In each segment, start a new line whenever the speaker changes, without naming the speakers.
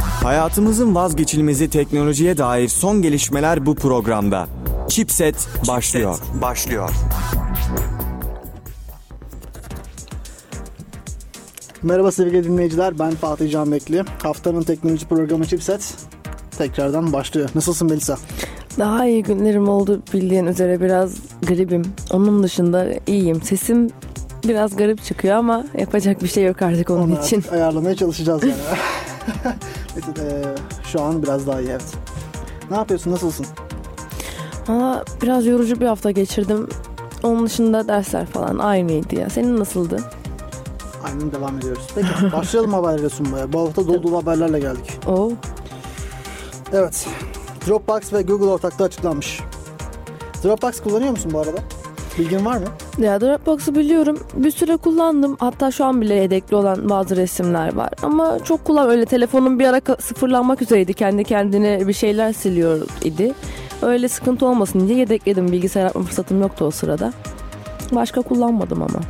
Hayatımızın vazgeçilmezi teknolojiye dair son gelişmeler bu programda. Chipset başlıyor.
Başlıyor.
Merhaba sevgili dinleyiciler, ben Fatih Canbekli. Haftanın teknoloji programı Chipset tekrardan başlıyor. Nasılsın Melisa?
Daha iyi günlerim oldu bildiğin üzere biraz gribim. Onun dışında iyiyim. Sesim biraz garip çıkıyor ama yapacak bir şey yok artık onun
Onu
için.
artık ayarlamaya çalışacağız yani. Neyse, eee, şu an biraz daha iyi evet. Ne yapıyorsun, nasılsın?
Ama biraz yorucu bir hafta geçirdim. Onun dışında dersler falan aynıydı ya. Senin nasıldı?
Aynen devam ediyoruz. Peki başlayalım haberlere sunmaya. Bu hafta dolu dolu haberlerle geldik.
Oo.
Evet, Dropbox ve Google ortaklığı açıklanmış. Dropbox kullanıyor musun bu arada? Bilgin var mı?
Ya Dropbox'u biliyorum. Bir süre kullandım. Hatta şu an bile yedekli olan bazı resimler var. Ama çok kullan öyle telefonum bir ara ka- sıfırlanmak üzereydi. Kendi kendine bir şeyler siliyor idi. Öyle sıkıntı olmasın diye yedekledim. Bilgisayar yapma fırsatım yoktu o sırada. Başka kullanmadım ama.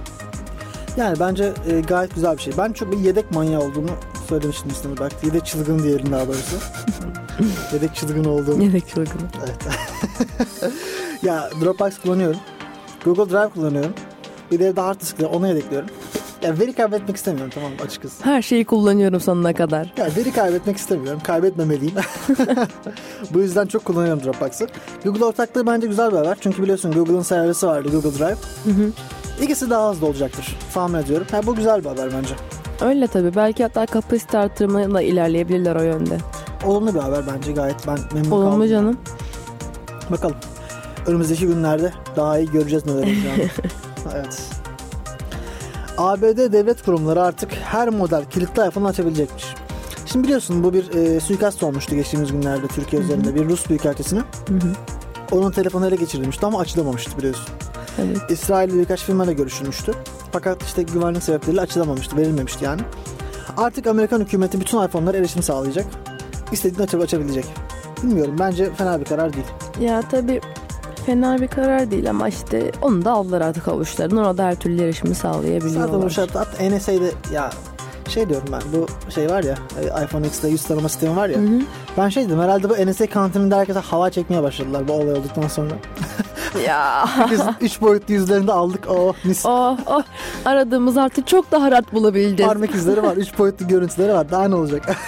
Yani bence e, gayet güzel bir şey. Ben çok bir yedek manyağı olduğumu söylemiştim üstüne bak. Yedek çılgın diyelim daha doğrusu. yedek çılgın olduğumu.
Yedek çılgını.
ya Dropbox kullanıyorum. Google Drive kullanıyorum. Bir de evde hard disk var, onu yedekliyorum. Ya veri kaybetmek istemiyorum tamam mı? açıkçası.
Her şeyi kullanıyorum sonuna kadar.
Ya veri kaybetmek istemiyorum. Kaybetmemeliyim. Bu yüzden çok kullanıyorum Dropbox'ı. Google ortaklığı bence güzel bir haber. Çünkü biliyorsun Google'ın servisi vardı Google Drive. İkisi daha hızlı olacaktır. Tahmin ediyorum. Ha, bu güzel bir haber bence.
Öyle tabii. Belki hatta kapasite artırımına da ilerleyebilirler o yönde.
Olumlu bir haber bence gayet ben memnun
Olumlu
kaldım.
canım.
Bakalım. Önümüzdeki günlerde daha iyi göreceğiz neler olacağını. evet. ABD devlet kurumları artık her model kilitli iPhone'u açabilecekmiş. Şimdi biliyorsun bu bir e, suikast olmuştu geçtiğimiz günlerde Türkiye üzerinde bir Rus büyükelçisine. Onun telefonu ele geçirilmişti ama açılamamıştı biliyorsun.
Evet.
İsrail'le birkaç firmayla görüşülmüştü. Fakat işte güvenlik sebepleriyle açılamamıştı, verilmemişti yani. Artık Amerikan hükümeti bütün iPhone'lara erişim sağlayacak. İstediğini açıp açabilecek. Bilmiyorum bence fena bir karar değil.
Ya tabii fena bir karar değil ama işte onu da aldılar artık avuçlarına. Ona da her türlü erişimi sağlayabiliyorlar.
Zaten bu şartta hatta NSA'de ya şey diyorum ben bu şey var ya e, iPhone X'te yüz tanıma sistemi var ya. Ben şey dedim herhalde bu NSA kantininde herkese hava çekmeye başladılar bu olay olduktan sonra.
Ya
Biz üç boyutlu yüzlerini de aldık. Oh mis.
oh, oh. aradığımız artık çok daha rahat bulabileceğiz.
Parmak izleri var. Üç boyutlu görüntüleri var. Daha ne olacak?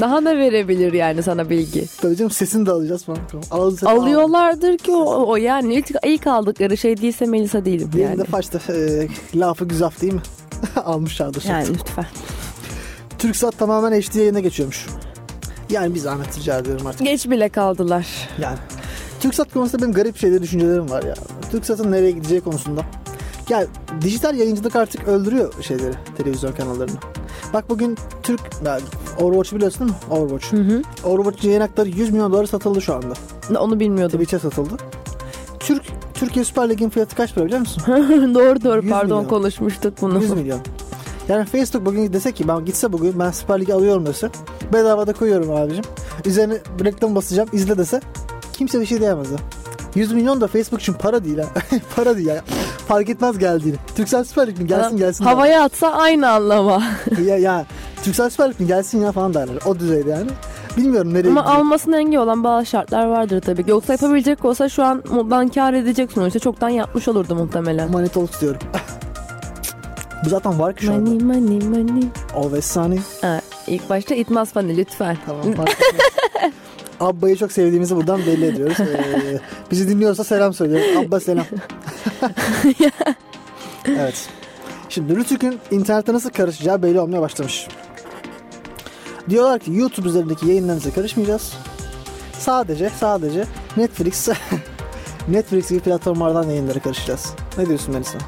Daha ne verebilir yani sana bilgi?
Tabii canım sesini de alacağız falan. Tamam. Alalım sesi alalım.
Alıyorlardır ki o, o yani ilk, ilk aldıkları şey değilse Melisa değilim
Diğerinde
yani.
façta e, lafı güzaf değil mi? Almışlardır.
Yani lütfen.
Türksat tamamen HD yayına geçiyormuş. Yani biz zahmet rica ediyorum artık.
Geç bile kaldılar.
Yani TürkSat konusunda benim garip şeyleri düşüncelerim var ya. TürkSat'ın nereye gideceği konusunda. Ya dijital yayıncılık artık öldürüyor şeyleri, televizyon kanallarını. Bak bugün Türk, yani Overwatch biliyorsun değil mi? Overwatch. Overwatch yayın hakları 100 milyon dolara satıldı şu anda.
Onu bilmiyordum.
Twitch'e satıldı. Türk Türkiye Süper Lig'in fiyatı kaç para biliyor musun?
doğru doğru
100
pardon
milyon.
konuşmuştuk bunu.
100 milyon. Yani Facebook bugün dese ki ben gitse bugün ben Süper Lig'i alıyorum dese bedavada koyuyorum abicim. Üzerine reklam basacağım izle dese kimse bir şey diyemez. ha. 100 milyon da Facebook için para değil ha. para değil ya. Fark etmez geldiğini. Türksel Süper Lig mi gelsin gelsin. der.
Havaya atsa aynı anlama.
ya, ya. Türksel Süper Lig mi gelsin ya falan derler. O düzeyde yani. Bilmiyorum nereye
Ama
gidecek.
almasına engel olan bazı şartlar vardır tabii ki. Yoksa yapabilecek olsa şu an moddan kar edecek sonuçta. Çoktan yapmış olurdu muhtemelen.
Manetol tutuyorum. Bu zaten var ki şu anda.
Money money money.
Always sunny.
Ha, ilk başta itmaz fanı lütfen.
Tamam. fark etmez. Abba'yı çok sevdiğimizi buradan belli ediyoruz. Ee, bizi dinliyorsa selam söylüyorum. Abba selam. evet. Şimdi Rütük'ün internete nasıl karışacağı belli olmaya başlamış. Diyorlar ki YouTube üzerindeki yayınlarınıza karışmayacağız. Sadece sadece Netflix Netflix gibi platformlardan yayınlara karışacağız. Ne diyorsun Melisa?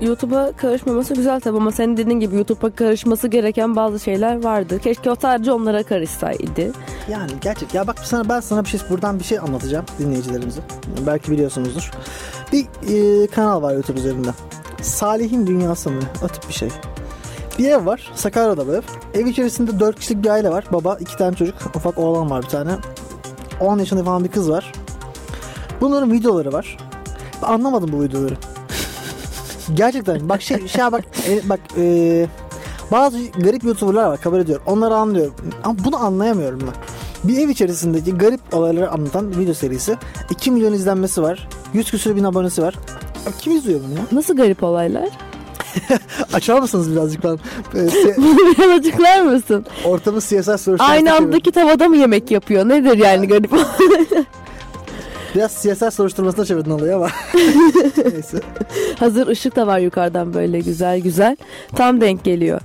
YouTube'a karışmaması güzel tabii ama senin dediğin gibi YouTube'a karışması gereken bazı şeyler vardı. Keşke o sadece onlara karışsaydı.
Yani gerçek. Ya bak sana ben sana bir şey buradan bir şey anlatacağım dinleyicilerimize. Belki biliyorsunuzdur. Bir e, kanal var YouTube üzerinde. Salih'in Dünyası mı? O tip bir şey. Bir ev var. Sakarya'da bu ev. Ev içerisinde 4 kişilik bir aile var. Baba, iki tane çocuk, ufak oğlan var bir tane. 10 yaşında falan bir kız var. Bunların videoları var. Ben anlamadım bu videoları. Gerçekten bak şey şey bak e, bak e, Bazı garip YouTuber'lar var kabul ediyorum. Onları anlıyorum. Ama bunu anlayamıyorum ben. Bir ev içerisindeki garip olayları anlatan bir video serisi. 2 milyon izlenmesi var. 100 küsür bin abonesi var. Abi kim izliyor bunu ya?
Nasıl garip olaylar?
Açar mısınız birazcık ben? Ee, si-
Bunu biraz açıklar mısın?
ortamı CSI soru
Aynı andaki tavada mı yemek yapıyor? Nedir yani garip olan?
Biraz siyasal soruşturmasına çevirdin olayı ama. Neyse.
Hazır ışık da var yukarıdan böyle güzel güzel. Tam denk geliyor.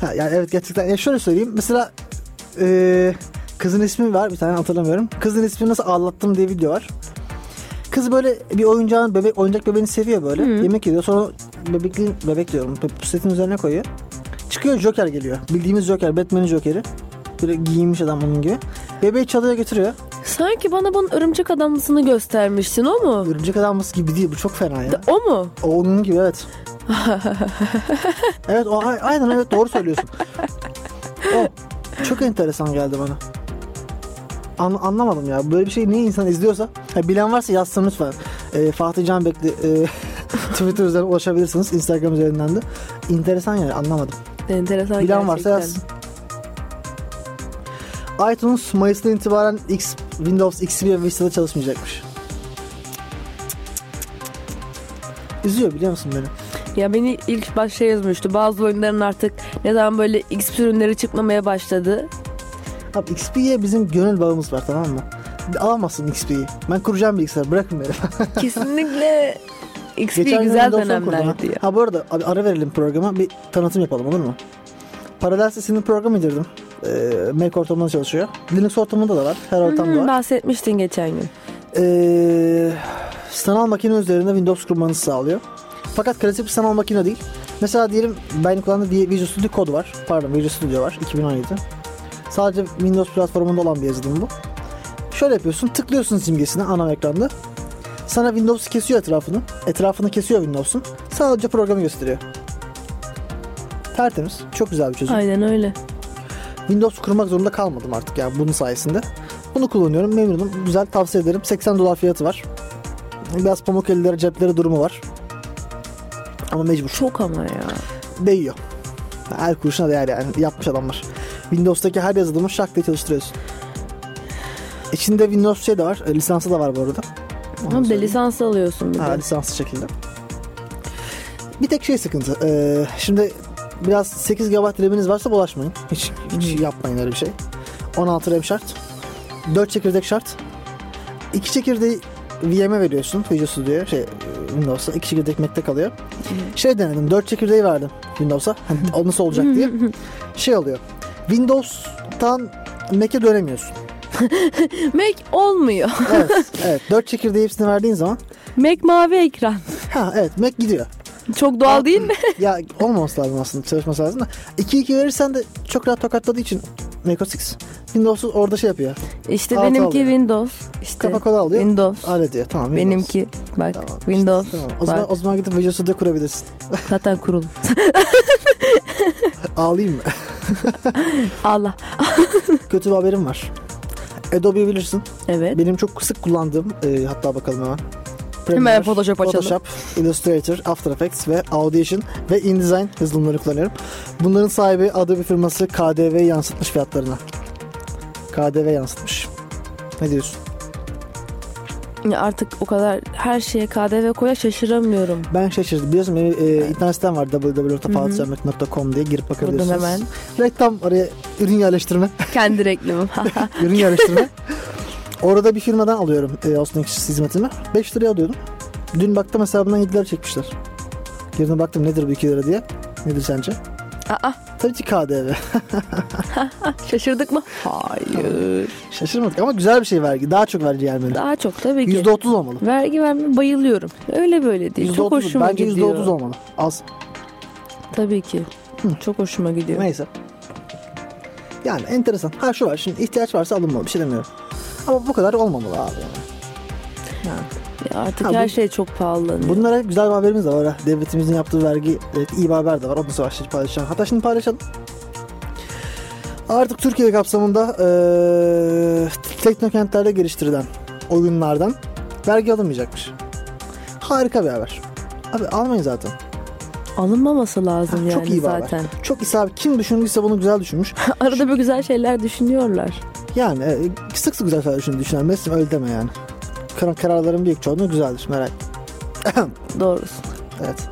Ha, yani evet gerçekten. Ya şöyle söyleyeyim. Mesela eee, kızın ismi var. Bir tane hatırlamıyorum. Kızın ismini nasıl ağlattım diye video var. Kız böyle bir oyuncağın bebek oyuncak bebeğini seviyor böyle. Yemek yiyor. Sonra bebekliğin bebek diyorum. pe- Pusetin üzerine koyuyor. Çıkıyor Joker geliyor. Bildiğimiz Joker. Batman'in Joker'i. Böyle giyinmiş adam bunun gibi. Bebeği çalıyor götürüyor.
Sanki bana bunun örümcek adamlısını göstermiştin o mu?
Örümcek adamlısı gibi değil. Bu çok fena ya.
O mu?
O Onun gibi evet. evet o a- aynen evet doğru söylüyorsun. O çok enteresan geldi bana. An- anlamadım ya. Böyle bir şey niye insan izliyorsa. Ha, bilen varsa yazsın lütfen. Ee, Fatih Can Bekli e, Twitter üzerinden ulaşabilirsiniz. Instagram üzerinden de. Enteresan yani anlamadım.
Enteresan
Bilen varsa
gerçekten.
yazsın. iTunes Mayıs'tan itibaren X, Windows XP ve Vista'da çalışmayacakmış. Üzüyor biliyor musun beni?
Ya beni ilk baş şey yazmıştı. Bazı oyunların artık neden böyle X ürünleri çıkmamaya başladı.
Abi XP'ye bizim gönül bağımız var tamam mı? Alamazsın XP'yi. Ben kuracağım bilgisayar bırakın beni.
Kesinlikle XP
gün
güzel
Windows'tan kurdum ha.
dönemlerdi ya.
Ha bu arada abi ara verelim programa bir tanıtım yapalım olur mu? Paralel sesinin programı indirdim. Ee, Mac ortamında çalışıyor. Linux ortamında da var. Her ortamda
Hı,
var.
bahsetmiştin geçen gün.
Ee, sanal makine üzerinde Windows kurmanızı sağlıyor. Fakat klasik bir sanal makine değil. Mesela diyelim ben kullandığım bir Visual Studio Code var. Pardon Visual Studio var 2017. Sadece Windows platformunda olan bir yazılım bu. Şöyle yapıyorsun tıklıyorsun simgesine ana ekranda. Sana Windows'u kesiyor etrafını. Etrafını kesiyor Windows'un. Sadece programı gösteriyor. Tertemiz. Çok güzel bir çözüm.
Aynen öyle.
Windows kurmak zorunda kalmadım artık yani bunun sayesinde. Bunu kullanıyorum memnunum. Güzel tavsiye ederim. 80 dolar fiyatı var. Biraz pamuk ellilere cepleri durumu var. Ama mecbur.
Çok ama ya.
Değiyor. Her kuruşuna değer yani. Yapmış adamlar. Windows'taki her yazılımı şak diye çalıştırıyorsun. İçinde Windows şey de var. e, Lisansı da var bu arada. Onu
Ama bir de
söyleyeyim.
lisans alıyorsun bir de.
Ha, lisanslı şekilde. Bir tek şey sıkıntı. Ee, şimdi biraz 8 GB RAM'iniz varsa bulaşmayın. Hiç, hiç yapmayın öyle bir şey. 16 RAM şart. 4 çekirdek şart. 2 çekirdeği VM'e veriyorsun. Visual Studio'ya. Şey, Windows'a. 2 çekirdek Mac'te kalıyor. Şey denedim. 4 çekirdeği verdim Windows'a. Hani o nasıl olacak diye. Şey oluyor. Windows'tan Mac'e dönemiyorsun.
Mac olmuyor.
Evet. evet. 4 çekirdeği hepsini verdiğin zaman.
Mac mavi ekran.
Ha evet Mac gidiyor.
Çok doğal değil mi?
ya olmaması lazım aslında çalışması lazım da. 2-2 verirsen de çok rahat tokatladığı için Mac OS X. Windows'u orada şey yapıyor.
İşte
Altı
benimki
alıyor.
Windows. İşte
Kafa kola alıyor.
Windows.
Öyle diyor tamam. Windows.
Benimki bak
Tamam, işte,
Windows.
Tamam. O
Bak,
zaman, o zaman gidip Visual Studio kurabilirsin.
zaten kurulu.
Ağlayayım mı?
Allah.
Kötü bir haberim var. Adobe bilirsin.
Evet.
Benim çok sık kullandığım e, hatta bakalım hemen.
Hemen Photoshop açalım.
Photoshop, Illustrator, After Effects ve Audition ve InDesign yazılımları kullanıyorum. Bunların sahibi Adobe firması KDV yansıtmış fiyatlarına. KDV yansıtmış. Ne diyorsun?
Ya artık o kadar her şeye KDV koya şaşıramıyorum.
Ben şaşırdım. Biliyorsun benim e, internet sitem var www.fatihahmet.com diye girip bakabilirsiniz.
Buradan hemen.
Reklam araya ürün yerleştirme.
Kendi reklamım.
ürün yerleştirme. Orada bir firmadan alıyorum e, Austin hizmetimi. 5 liraya alıyordum. Dün baktım hesabından 7 lira çekmişler. Girdim baktım nedir bu 2 lira diye. Nedir sence?
Aa,
Tabii ki KDV.
şaşırdık mı? Hayır.
Şaşırmadık ama güzel bir şey vergi. Daha çok vergi gelmeli.
Daha çok tabii ki.
%30 olmalı.
Vergi vermeye bayılıyorum. Öyle böyle değil. Çok
%30,
hoşuma
bence
gidiyor.
%30 olmalı. Az.
Tabii ki. Çok hoşuma gidiyor.
Neyse. Yani enteresan. Ha şu var şimdi ihtiyaç varsa alınmalı bir şey demiyorum. Ama bu kadar olmamalı abi. yani.
Ya artık
Ha, bu-
her şey çok pahalanıyor.
Bunlara güzel bir haberimiz de var. ha. Devletimizin yaptığı vergi evet, iyi bir haber de var. Onu sonra şimdi paylaşacağım. Hatta şimdi paylaşalım. Artık Türkiye kapsamında eee teknokentlerde geliştirilen oyunlardan vergi alınmayacakmış. Harika bir haber. Abi almayın zaten.
Alınmaması lazım yani
Çok iyi var.
zaten.
Çok isabet. Kim düşündüyse bunu güzel düşünmüş.
Arada böyle güzel şeyler düşünüyorlar.
Yani e, sık sık güzel şeyler düşün, düşünen Mesut'um öyle deme yani. Kar kararların büyük çoğunluğu güzeldir merak etme.
Doğrusu.
Evet.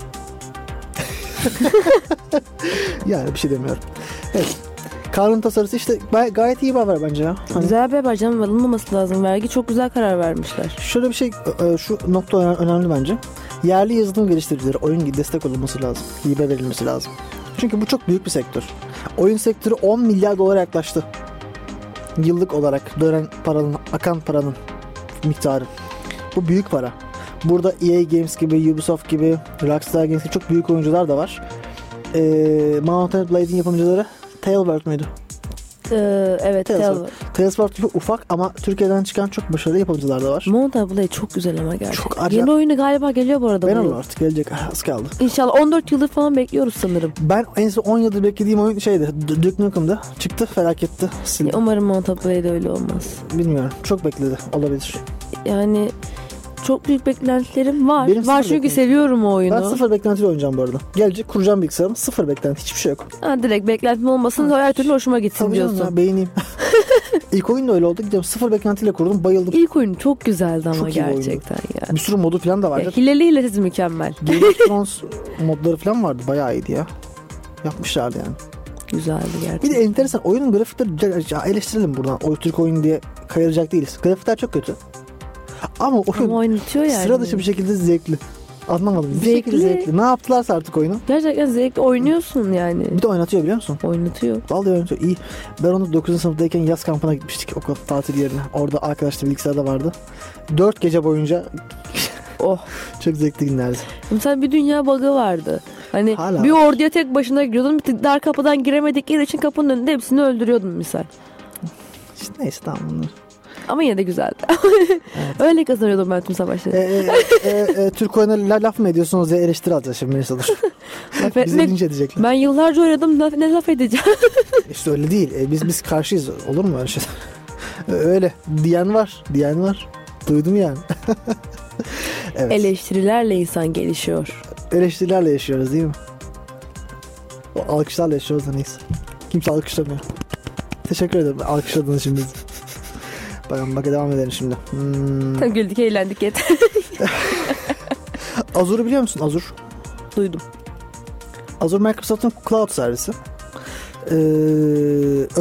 yani bir şey demiyorum. Evet. Kanun tasarısı işte bay- gayet iyi bir haber bence ya. Hani
Güzel bir haber canım alınmaması lazım. Vergi çok güzel karar vermişler.
şöyle bir şey, e, e, şu nokta öne- önemli bence. Yerli yazılım geliştiricileri oyun gibi destek olunması lazım. Hibe verilmesi lazım. Çünkü bu çok büyük bir sektör. Oyun sektörü 10 milyar dolara yaklaştı. Yıllık olarak dönen paranın, akan paranın miktarı. Bu büyük para. Burada EA Games gibi, Ubisoft gibi, Rockstar Games gibi çok büyük oyuncular da var. Ee, Mountain Blade'in yapımcıları Tailbird müydü?
Ee, evet.
Taylor.
Taylor.
Tailbird gibi ufak ama Türkiye'den çıkan çok başarılı yapımcılar da var.
Mountain Blade çok güzel ama gerçekten.
Çok acayip.
Yeni oyunu galiba geliyor bu arada.
Ben
bunun.
onu artık gelecek az kaldı.
İnşallah 14 yıldır falan bekliyoruz sanırım.
Ben en son 10 yıldır beklediğim oyun şeydi. D- Duke Nukem'dı. Çıktı felaketti. Sildim.
Umarım Mountain Blade öyle olmaz.
Bilmiyorum. Çok bekledi. Olabilir.
Yani çok büyük beklentilerim var.
Benim sıfır
var çünkü
beklentim.
seviyorum o oyunu.
Ben sıfır beklentiyle oynayacağım bu arada. Gelecek kuracağım bilgisayarımı. Sıfır beklenti. Hiçbir şey yok.
Ha, direkt beklentim olmasın her türlü hoşuma gitsin
Tabii canım ya
diyorsun.
beğeneyim. İlk oyun da öyle oldu. Gidiyorum sıfır beklentiyle kurdum. Bayıldım.
İlk oyun çok güzeldi ama
Çok iyi bir oyundu.
gerçekten ya.
Bir sürü modu falan da
ya
vardı.
hileli hilesiz mükemmel.
Game of Thrones modları falan vardı. Bayağı iyiydi ya. Yapmışlardı yani.
Güzeldi gerçekten.
Bir de enteresan oyunun grafikleri ya eleştirelim buradan. O Türk oyun diye kayıracak değiliz. Grafikler çok kötü. Ama oyun
Ama oynatıyor yani.
sıra dışı bir şekilde zevkli. Anlamadım. Bir
Zevkli.
şekilde zevkli. Ne yaptılarsa artık oyunu.
Gerçekten zevkli oynuyorsun yani.
şey- Bir de oynatıyor biliyor musun?
Oynatıyor.
Vallahi oynatıyor. İyi. Ben onu 9. sınıftayken yaz kampına gitmiştik okul tatil yerine. Orada arkadaşlar bilgisayarda vardı. 4 gece boyunca
Oh.
çok zevkli günlerdi.
Mesela bir dünya bug'ı vardı. Hani
Hala
bir
var.
orduya tek başına giriyordun. Bir dar kapıdan giremedikleri için kapının önünde hepsini öldürüyordun misal.
İşte neyse tamam bunlar.
Ama yine de güzeldi. Öyle kazanıyordum ben tüm savaşları.
Ee, e, e, e, Türk oyununa la- laf mı ediyorsunuz diye eleştiri alacağız şimdi beni sanır.
Laf
Bizi
etmek-
linç edecekler.
Ben yıllarca oynadım laf- ne laf edeceğim.
İşte öyle değil. E, biz biz karşıyız. Olur mu öyle şey? öyle. Diyen var. Diyen var. Duydum yani. evet.
Eleştirilerle insan gelişiyor.
eleştirilerle yaşıyoruz değil mi? O alkışlarla yaşıyoruz da neyse. Kimse alkışlamıyor. Teşekkür ederim alkışladığınız için bizi. Bakalım bak devam edelim şimdi. Hmm.
Tabii güldük eğlendik yeter.
Azur'u biliyor musun? Azur.
Duydum.
Azur Microsoft'un cloud servisi. Ee,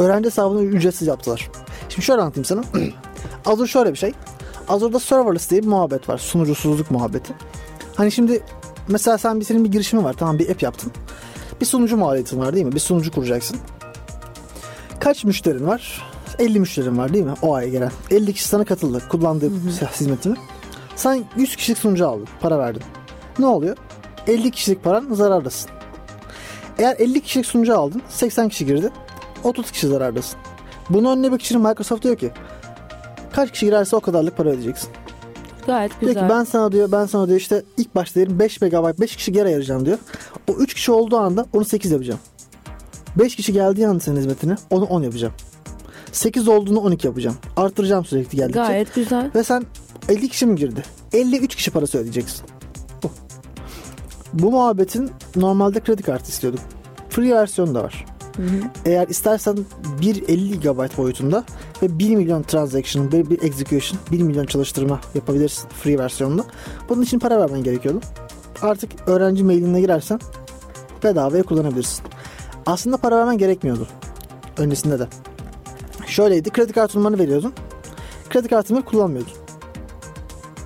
öğrenci hesabını ücretsiz yaptılar. Şimdi şöyle anlatayım sana. Azure şöyle bir şey. Azure'da serverless diye bir muhabbet var. Sunucusuzluk muhabbeti. Hani şimdi mesela sen bir senin bir girişimi var. Tamam bir app yaptın. Bir sunucu maliyetin var değil mi? Bir sunucu kuracaksın. Kaç müşterin var? 50 müşterin var değil mi? O ay gelen. 50 kişi sana katıldı. Kullandığı hizmetini. Sen 100 kişilik sunucu aldın. Para verdin. Ne oluyor? 50 kişilik paran zarardasın. Eğer 50 kişilik sunucu aldın, 80 kişi girdi, 30 kişi zarardasın. Bunun önüne bir kişinin Microsoft diyor ki, kaç kişi girerse o kadarlık para ödeyeceksin.
Gayet
Diyor
güzel.
ki ben sana diyor, ben sana diyor işte ilk başta diyelim 5 MB, 5 kişi geri ayıracağım diyor. O 3 kişi olduğu anda onu 8 yapacağım. 5 kişi geldiği anda senin hizmetine onu 10 yapacağım. 8 olduğunu 12 yapacağım. Artıracağım sürekli geldikçe.
Gayet güzel.
Ve sen 50 kişi mi girdi? 53 kişi parası ödeyeceksin. Bu. Bu muhabbetin normalde kredi kartı istiyorduk. Free versiyonu da var. Eğer istersen 1.50 GB boyutunda ve 1 milyon transaction, bir, bir execution, 1 milyon çalıştırma yapabilirsin free versiyonunda. Bunun için para vermen gerekiyordu. Artık öğrenci mailine girersen bedavaya kullanabilirsin. Aslında para vermen gerekmiyordu. Öncesinde de. Şöyleydi. Kredi kartı numaranı veriyordun. Kredi kartını kullanmıyordun.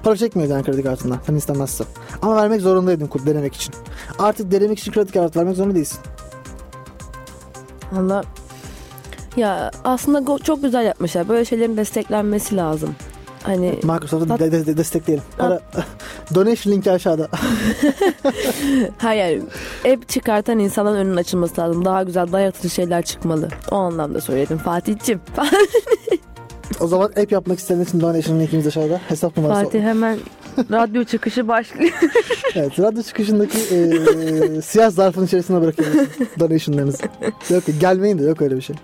Para çekmiyordun yani kredi kartından. Sen istemezse. Ama vermek zorundaydın kul- denemek için. Artık denemek için kredi kartı vermek zorunda değilsin.
Valla ya aslında go- çok güzel yapmışlar. Böyle şeylerin desteklenmesi lazım. Hani
Microsoft'u
Bak-
de- de- de- destekleyelim. Para, donation linki aşağıda.
hayır app çıkartan insanların önünün açılması lazım. Daha güzel, daha yaratıcı şeyler çıkmalı. O anlamda söyledim Fatih'ciğim.
o zaman app yapmak isteyen için donation linkimiz aşağıda. Hesap numarası.
Fatih hemen radyo çıkışı başlıyor.
Evet, radyo çıkışındaki eee siyah zarfın içerisine bırakıyoruz donationlarınızı. Yok gelmeyin de yok öyle bir şey.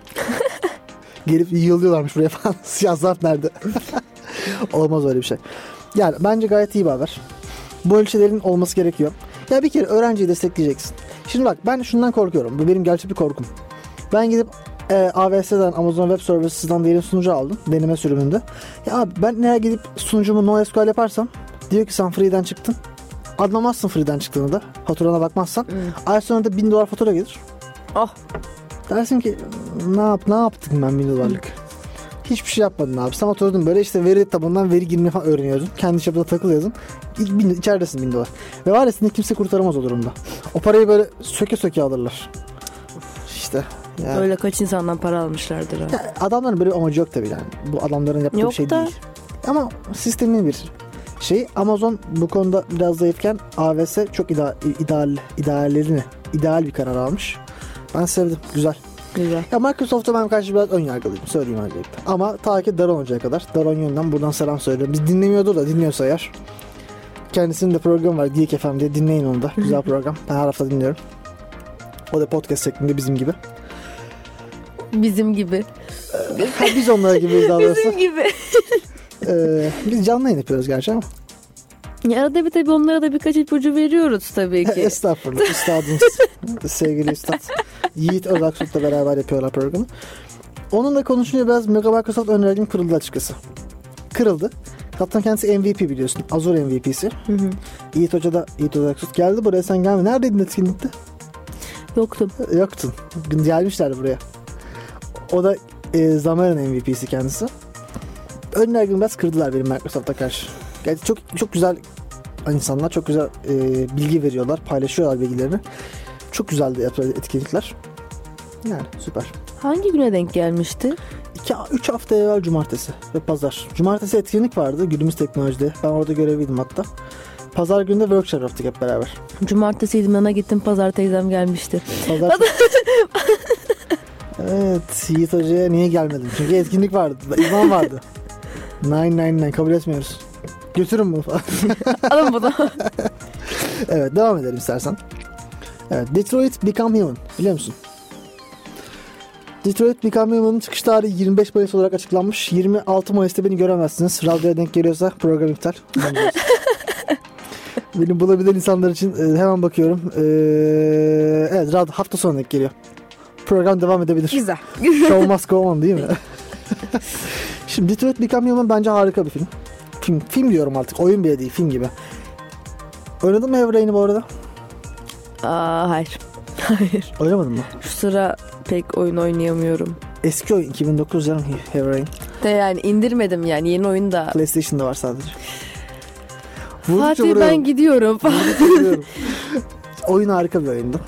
Gelip yığılıyorlarmış buraya falan. siyah zarf nerede? Olmaz öyle bir şey. Yani bence gayet iyi bir haber. Böyle şeylerin olması gerekiyor. Ya bir kere öğrenciyi destekleyeceksin. Şimdi bak ben şundan korkuyorum. Bu benim gerçek bir korkum. Ben gidip e, AWS'den Amazon Web Services'dan diyelim sunucu aldım deneme sürümünde. Ya abi ben eğer gidip sunucumu NoSQL yaparsam diyor ki sen free'den çıktın. Anlamazsın free'den çıktığını da faturana bakmazsan. Ay sonunda 1000 dolar fatura gelir.
Ah
Dersin ki ne yap ne yaptık ben 1000 dolarlık. Hiçbir şey yapmadın abi. Sen oturdun böyle işte veri tabanından veri girmeyi falan öğreniyordun. Kendi çapında takılıyordun. İlk bin, içeridesin 1000 dolar. Ve var ya seni kimse kurtaramaz o durumda. O parayı böyle söke söke alırlar. İşte. Yani.
öyle kaç insandan para almışlardır ha.
Ya adamların böyle bir amacı yok tabii yani. Bu adamların yaptığı
Yok
bir şey
da.
değil. Ama sistemin bir şey. Amazon bu konuda biraz zayıfken AWS çok ideal, ideal, ideallerini, ideal bir karar almış. Ben sevdim. Güzel.
Güzel.
Ya Microsoft'a ben karşı biraz ön yargılıyım. Söyleyeyim öncelikle. Ama ta ki Daron Hoca'ya kadar. Daron yönden buradan selam söylüyorum. Biz dinlemiyordur da dinliyorsa eğer. Kendisinin de programı var Geek FM diye dinleyin onu da. Güzel program. Ben her hafta dinliyorum. O da podcast şeklinde bizim gibi.
Bizim gibi.
Ha, biz onlara gibiyiz daha doğrusu.
Bizim gibi.
Ee, biz canlı yayın yapıyoruz gerçi ama.
Ya arada bir tabii onlara da birkaç ipucu veriyoruz tabii ki.
Estağfurullah. Üstadımız. sevgili üstad. Yiğit Özaksut'la beraber yapıyorlar programı. Onunla konuşunca biraz Mega Microsoft önerim kırıldı açıkçası. Kırıldı. Hatta kendisi MVP biliyorsun. Azure MVP'si. Yiğit Hoca da Yiğit Özaksut geldi. Buraya sen gelme. Neredeydin etkinlikte?
Yoktum.
Yoktun. Gelmişler buraya. O da e, Zamer'in MVP'si kendisi. Ön yargımı biraz kırdılar benim Microsoft'a karşı. Gerçi çok çok güzel insanlar, çok güzel e, bilgi veriyorlar, paylaşıyorlar bilgilerini. Çok güzeldi yapılan etkinlikler. Yani süper.
Hangi güne denk gelmişti?
3 hafta evvel cumartesi ve pazar. Cumartesi etkinlik vardı günümüz teknolojide. Ben orada görevliydim hatta. Pazar günü de workshop yaptık hep beraber.
Cumartesiydi nana gittim pazar teyzem gelmişti.
Pazar... evet Yiğit Hoca'ya niye gelmedim? Çünkü etkinlik vardı. İzan vardı. 999 kabul etmiyoruz. Götürün bunu falan.
Alın bunu.
evet devam edelim istersen. Evet, Detroit Become Human biliyor musun? Detroit Become Human'ın çıkış tarihi 25 Mayıs olarak açıklanmış. 26 Mayıs'ta beni göremezsiniz. Radyoya denk geliyorsa program iptal. Beni bulabilen insanlar için e, hemen bakıyorum. E, evet radyo hafta sonu denk geliyor. Program devam edebilir.
Güzel.
Show must go on değil mi? Şimdi Detroit Become Human bence harika bir film. Film, film diyorum artık. Oyun bile değil. Film gibi. Oynadın mı Heavy bu arada?
Aa, hayır. Hayır.
Oynamadın mı?
Şu sıra pek oyun oynayamıyorum.
Eski oyun 2009 canım Heavy
De yani indirmedim yani yeni oyun da.
PlayStation'da var sadece. Vurdukça
Fatih ben
vuruyorum.
gidiyorum.
vuruyorum. oyun harika bir oyundu.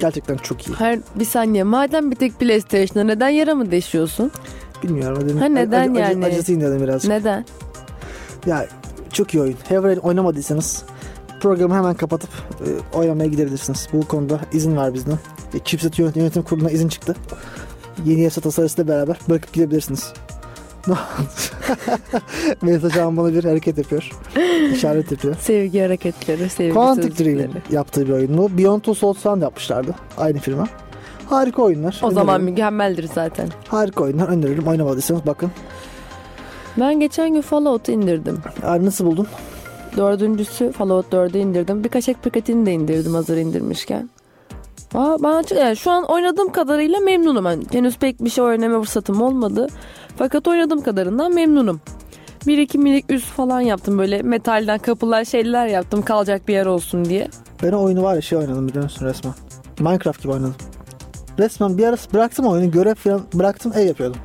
Gerçekten çok iyi.
Hayır bir saniye madem bir tek PlayStation'da neden yara mı deşiyorsun?
Bilmiyorum. Hadi,
Ha, neden yani?
acısı indirdim biraz.
Neden?
Ya çok iyi oyun. Heavy oynamadıysanız programı hemen kapatıp e, oynamaya gidebilirsiniz. Bu konuda izin var bizden. E, Chipset yönet- yönetim kuruluna izin çıktı. Yeni yasa tasarısıyla beraber bırakıp gidebilirsiniz. Ne oldu? Mesaj an bana bir hareket yapıyor. İşaret yapıyor.
Sevgi hareketleri, sevgi
Quantic
sözcükleri.
Dream'in yaptığı bir oyun bu. Beyond Two Souls'tan da yapmışlardı. Aynı firma. Harika oyunlar.
O zaman
Öneririm.
mükemmeldir zaten.
Harika oyunlar öneririm. Oynamadıysanız bakın.
Ben geçen gün Fallout'u indirdim.
Aa, Nasıl buldun?
Dördüncüsü Fallout 4'ü indirdim. Birkaç ek paketini de indirdim hazır indirmişken. Aa, ben açık, yani şu an oynadığım kadarıyla memnunum. Yani henüz pek bir şey öğrenme fırsatım olmadı. Fakat oynadığım kadarından memnunum. Bir iki minik üst falan yaptım böyle metalden kapılar şeyler yaptım kalacak bir yer olsun diye.
Ben o oyunu var ya şey oynadım biliyor musun resmen. Minecraft gibi oynadım. Resmen bir arası bıraktım oyunu görev falan bıraktım ev yapıyordum.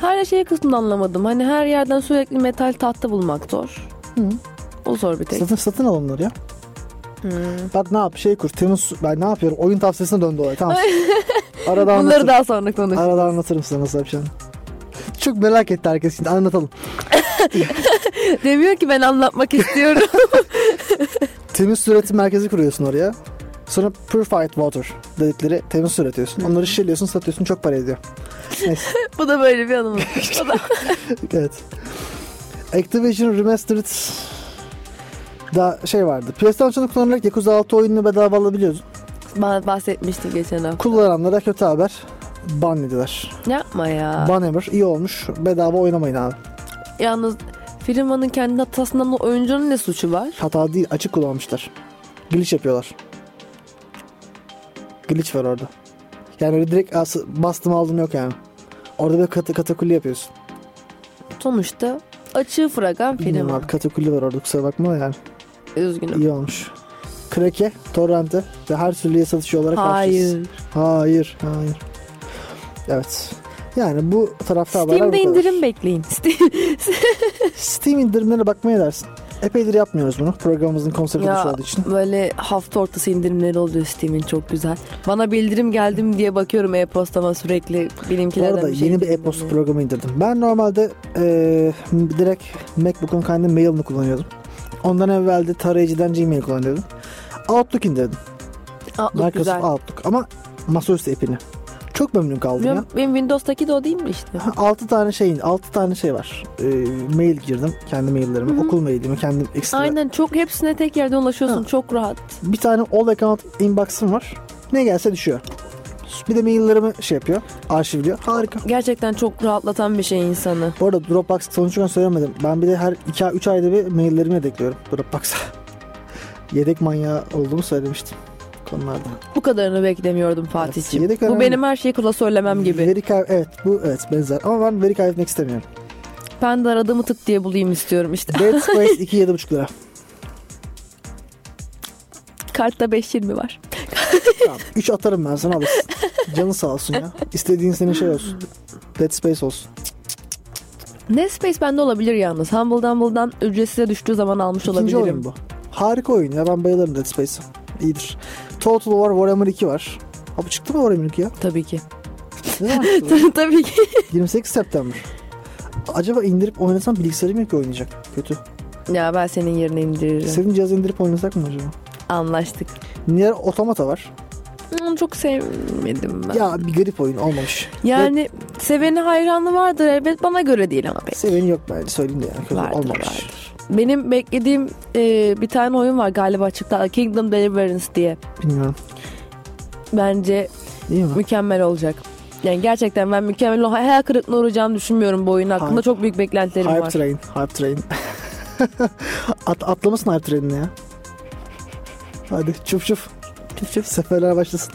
Her şey kısmını anlamadım. Hani her yerden sürekli metal tahta bulmak zor.
Hı.
O zor bir tek.
Satın satın al onları ya. Bak ne yap şey kur Temmuz ben ne yapıyorum oyun tavsiyesine döndü olay tamam. Arada anlatırım.
Bunları daha sonra konuşuruz.
Arada anlatırım size nasıl yapacağını. Çok merak etti herkes şimdi anlatalım.
Demiyor ki ben anlatmak istiyorum.
Temiz su üretim merkezi kuruyorsun oraya. Sonra purified water dedikleri temiz su üretiyorsun. Onları şişeliyorsun satıyorsun çok para ediyor. Neyse.
Bu da böyle bir anımız. O da-
evet. Activision Remastered da şey vardı. PlayStation'ı kullanarak Yakuza 6 oyununu bedava alabiliyordun.
Bah- bahsetmiştim geçen hafta.
Kullananlara kötü haber. Ban yediler.
Yapma ya.
Ban Hammer iyi olmuş. Bedava oynamayın abi.
Yalnız firmanın kendi hatasından da oyuncunun ne suçu var?
Hata değil açık kullanmışlar. Glitch yapıyorlar. Glitch var orada. Yani öyle direkt as- bastım aldım yok yani. Orada böyle kata, katakulli yapıyorsun.
Sonuçta açığı fragan film.
Bilmiyorum abi katakulli var orada kusura bakma da yani.
Üzgünüm.
İyi olmuş. Crack'e, torrent'e ve her türlü satış olarak karşıyız.
Hayır.
Hayır. Hayır. Evet. Yani bu tarafta haberler bu
Steam'de
kadar.
indirim bekleyin. Steam-
Steam indirimlere bakmaya dersin. Epeydir yapmıyoruz bunu. Programımızın konsepti
Ya,
dışı olduğu için.
Böyle hafta ortası indirimleri oluyor Steam'in çok güzel. Bana bildirim geldim diye bakıyorum e-postama sürekli
Bu
benimkilerden
arada
bir şey
yeni bir
bilmiyorum.
e-posta programı indirdim. Ben normalde eee, direkt MacBook'un kendi mailini kullanıyordum. Ondan evvel de tarayıcıdan Gmail kullanıyordum. Outlook indirdim.
Outlook
Microsoft
güzel.
Outlook ama masaüstü app'ini. Çok memnun kaldım ya.
Benim, benim Windows'taki de o değil mi işte?
6 tane şeyin, 6 tane şey var. Eee, mail girdim kendi maillerime,
Hı hı.
okul mailimi, kendim ekstra.
Aynen çok hepsine tek yerden ulaşıyorsun
Ha.
çok rahat.
Bir tane all account inbox'ım var. Ne gelse düşüyor. Bir de maillerimi şey yapıyor, arşivliyor. Harika.
Gerçekten çok rahatlatan bir şey insanı.
Bu arada Dropbox sonuçta söylemedim. Ben bir de her 2 3 ayda bir maillerimi yedekliyorum Dropbox'a. Yedek manyağı olduğumu söylemiştim konularda.
Bu kadarını beklemiyordum
Evet,
Fatih'ciğim.
yedek
bu
önemli.
benim her şeyi kula söylemem gibi.
Veri kay- evet bu evet benzer ama ben veri kaybetmek istemiyorum.
Ben de aradığımı tık diye bulayım istiyorum işte.
Dead Space 2 7,5 lira.
Kartta 5.20 var.
3 atarım ben sana alırsın. Canın sağ olsun ya. İstediğin senin şey olsun. Dead Space olsun.
Netspace bende olabilir yalnız. Humble Dumble'dan ücretsize düştüğü zaman almış
İkinci
olabilirim.
oyun bu. Harika oyun ya ben bayılırım Dead Space'e. İyidir. Total War Warhammer 2 var. Abi çıktı mı Warhammer 2 ya?
Tabii ki.
Ne zaman çıktı?
Tabii ki.
28 September. Acaba indirip oynasam bilgisayarım yok ki oynayacak. Kötü.
Ya ben senin yerine indiririm.
Senin cihazı indirip oynasak mı acaba?
Anlaştık.
Nier Otomata var.
Onu çok sevmedim ben.
Ya bir garip oyun olmamış.
yani seveni hayranı vardır elbet bana göre değil ama.
Ve
pek.
Seveni yok bence söyleyeyim de yani. Kötü
Vardır,
olmamış.
vardır. Benim beklediğim e, bir tane oyun var galiba çıktı. Kingdom Deliverance diye.
Bilmiyorum.
Bence
Değil mi?
mükemmel olacak. Yani gerçekten ben mükemmel o hayal kırıklığına uğrayacağını düşünmüyorum bu oyun hakkında.
Hype-
Çok büyük beklentilerim
Hype
var.
Train. Hype Train. At, atlamasın Hype Train'ini ya. Hadi çuf çuf. Çuf çuf. Seferler başlasın.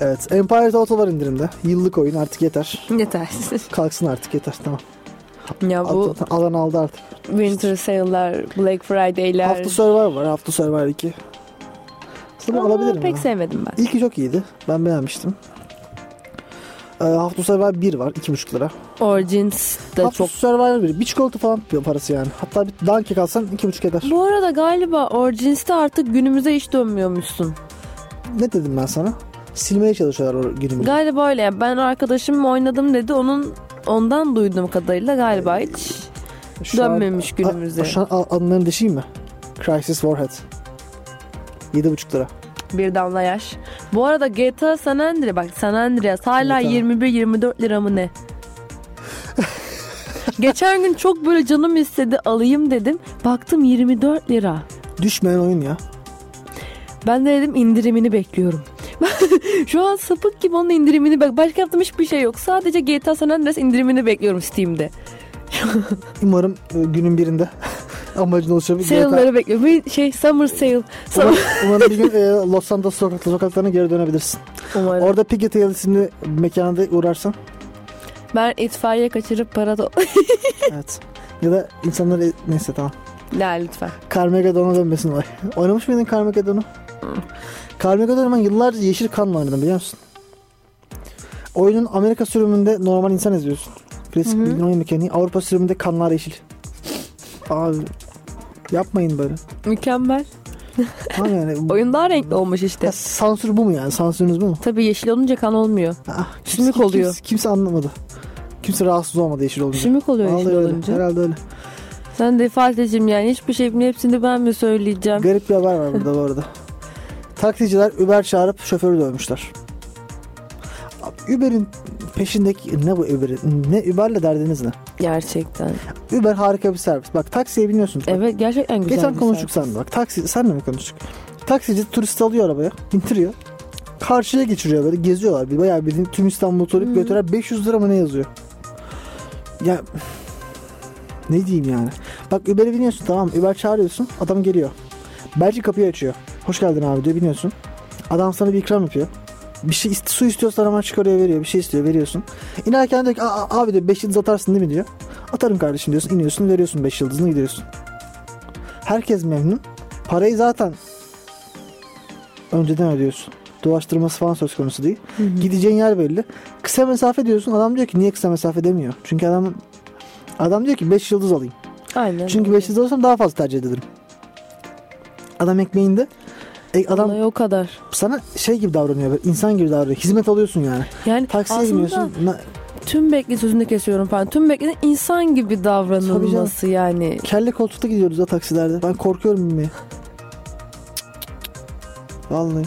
evet. Empire Total var indirimde. Yıllık oyun artık yeter.
Yetersiz.
Kalksın artık yeter tamam.
ya bu
At- alan aldı artık.
Winter Sale'lar, Black Friday'ler.
Hafta Survivor var. Hafta Survivor 2. Sana
Aa,
alabilirim.
Pek
ya.
sevmedim ben.
İlki çok iyiydi. Ben beğenmiştim. Ee, Hafta Survivor 1 var. 2,5 lira.
Origins de
Hafta
çok
Survivor 1. Bir çikolata falan yapıyor parası yani. Hatta bir Dunkin' alsan 2,5 eder.
Bu arada galiba Origins'te artık günümüze hiç dönmüyormuşsun.
Ne dedim ben sana? Silmeye çalışıyorlar o günümüzü.
Galiba öyle. Yani ben arkadaşım oynadım dedi. Onun ondan duyduğum kadarıyla galiba hiç
Şu an-
dönmemiş günümüze.
A- şu an a- anıların deşeyim mi? Crisis Warhead. 7,5 lira.
bir damla yaş. Bu arada GTA San Andreas bak San Andreas hala
GTA.
21-24 lira mı ne? Geçen gün çok böyle canım istedi alayım dedim. Baktım 24 lira.
Düşmeyen oyun ya.
Ben de dedim indirimini bekliyorum. Şu an sapık gibi onun indirimini bak. Başka yaptığım hiçbir şey yok. Sadece GTA San Andreas indirimini bekliyorum Steam'de.
Umarım e, günün birinde amacına ulaşabilir.
Sale'ları bekliyorum. Bir şey summer sale. Summer.
Umarım bir gün e, Los Santos sokak- sokaklarına geri dönebilirsin.
Umarım.
Orada Piggity Hill isimli mekanda uğrarsan
Ben itfaiye kaçırıp para da...
evet. Ya da insanları neyse tamam.
La lütfen.
Carmageddon'a dönmesin olay. Oynamış mıydın Carmageddon'u? Carmageddon'u ben yıllarca yeşil kanla oynadım biliyor musun? Oyunun Amerika sürümünde normal insan izliyorsun. Klasik bildiğin oyun mekaniği. Avrupa sürümünde kanlar yeşil. Abi yapmayın böyle.
Mükemmel.
Tamam yani. bu-
Oyun daha renkli olmuş işte.
Ya sansür bu mu yani? Sansürünüz bu mu?
Tabii yeşil olunca kan olmuyor.
Ah,
Sümük oluyor.
Kimse, kimse anlamadı. Kimse rahatsız olmadı yeşil olunca.
Sümük oluyor
Vallahi
yeşil
öyle.
olunca.
Herhalde öyle.
Sen de Fatih'cim yani hiçbir şeyin hepsini ben mi söyleyeceğim?
Garip bir haber var burada bu arada. Taksiciler Uber çağırıp şoförü dövmüşler. Abi Uber'in peşindeki ne bu Uber'in? Ne Uber'le derdiniz ne?
Gerçekten.
Uber harika bir servis. Bak taksiye biniyorsunuz. Bak,
Evet gerçekten güzel
Geçen
bir
konuştuk
servis.
sen bak. Taksi senle mi konuştuk? Taksici turisti alıyor arabaya, bindiriyor. Karşıya geçiriyor böyle geziyorlar. Bir bayağı bildiğin tüm İstanbul'u
Hmm.
turlayıp götürer. 500 lira mı ne yazıyor? Ya ne diyeyim yani? Bak Uber'e biniyorsun tamam. Uber çağırıyorsun. Adam geliyor. Belki kapıyı açıyor. Hoş geldin abi diyor biniyorsun. Adam sana bir ikram yapıyor. Bir şey iste, su istiyorsan hemen çıkarıyor veriyor. Bir şey istiyor veriyorsun. İnerken diyor ki "Aa, abi diyor 5 yıldız atarsın değil mi diyor. Atarım kardeşim diyorsun. iniyorsun veriyorsun 5 yıldızını gidiyorsun. Herkes memnun. Parayı zaten önceden ödüyorsun. Dolaştırması falan söz konusu değil. Gideceğin yer belli. Kısa mesafe diyorsun. Adam diyor ki niye kısa mesafe demiyor. Çünkü adam adam diyor ki 5 yıldız alayım.
Aynen.
Çünkü 5 yıldız alırsam daha fazla tercih ederim. Adam ekmeğinde. E, adam
Olay o kadar.
sana şey gibi davranıyor. Böyle, insan gibi davranıyor. Hizmet alıyorsun yani.
Yani
Taksiye
aslında
biniyorsun. na-
tüm bekle sözünü kesiyorum falan. Tüm bekle insan gibi davranılması yani.
kelle koltukta gidiyoruz ya taksilerde. Ben korkuyorum binmeye. Vallahi.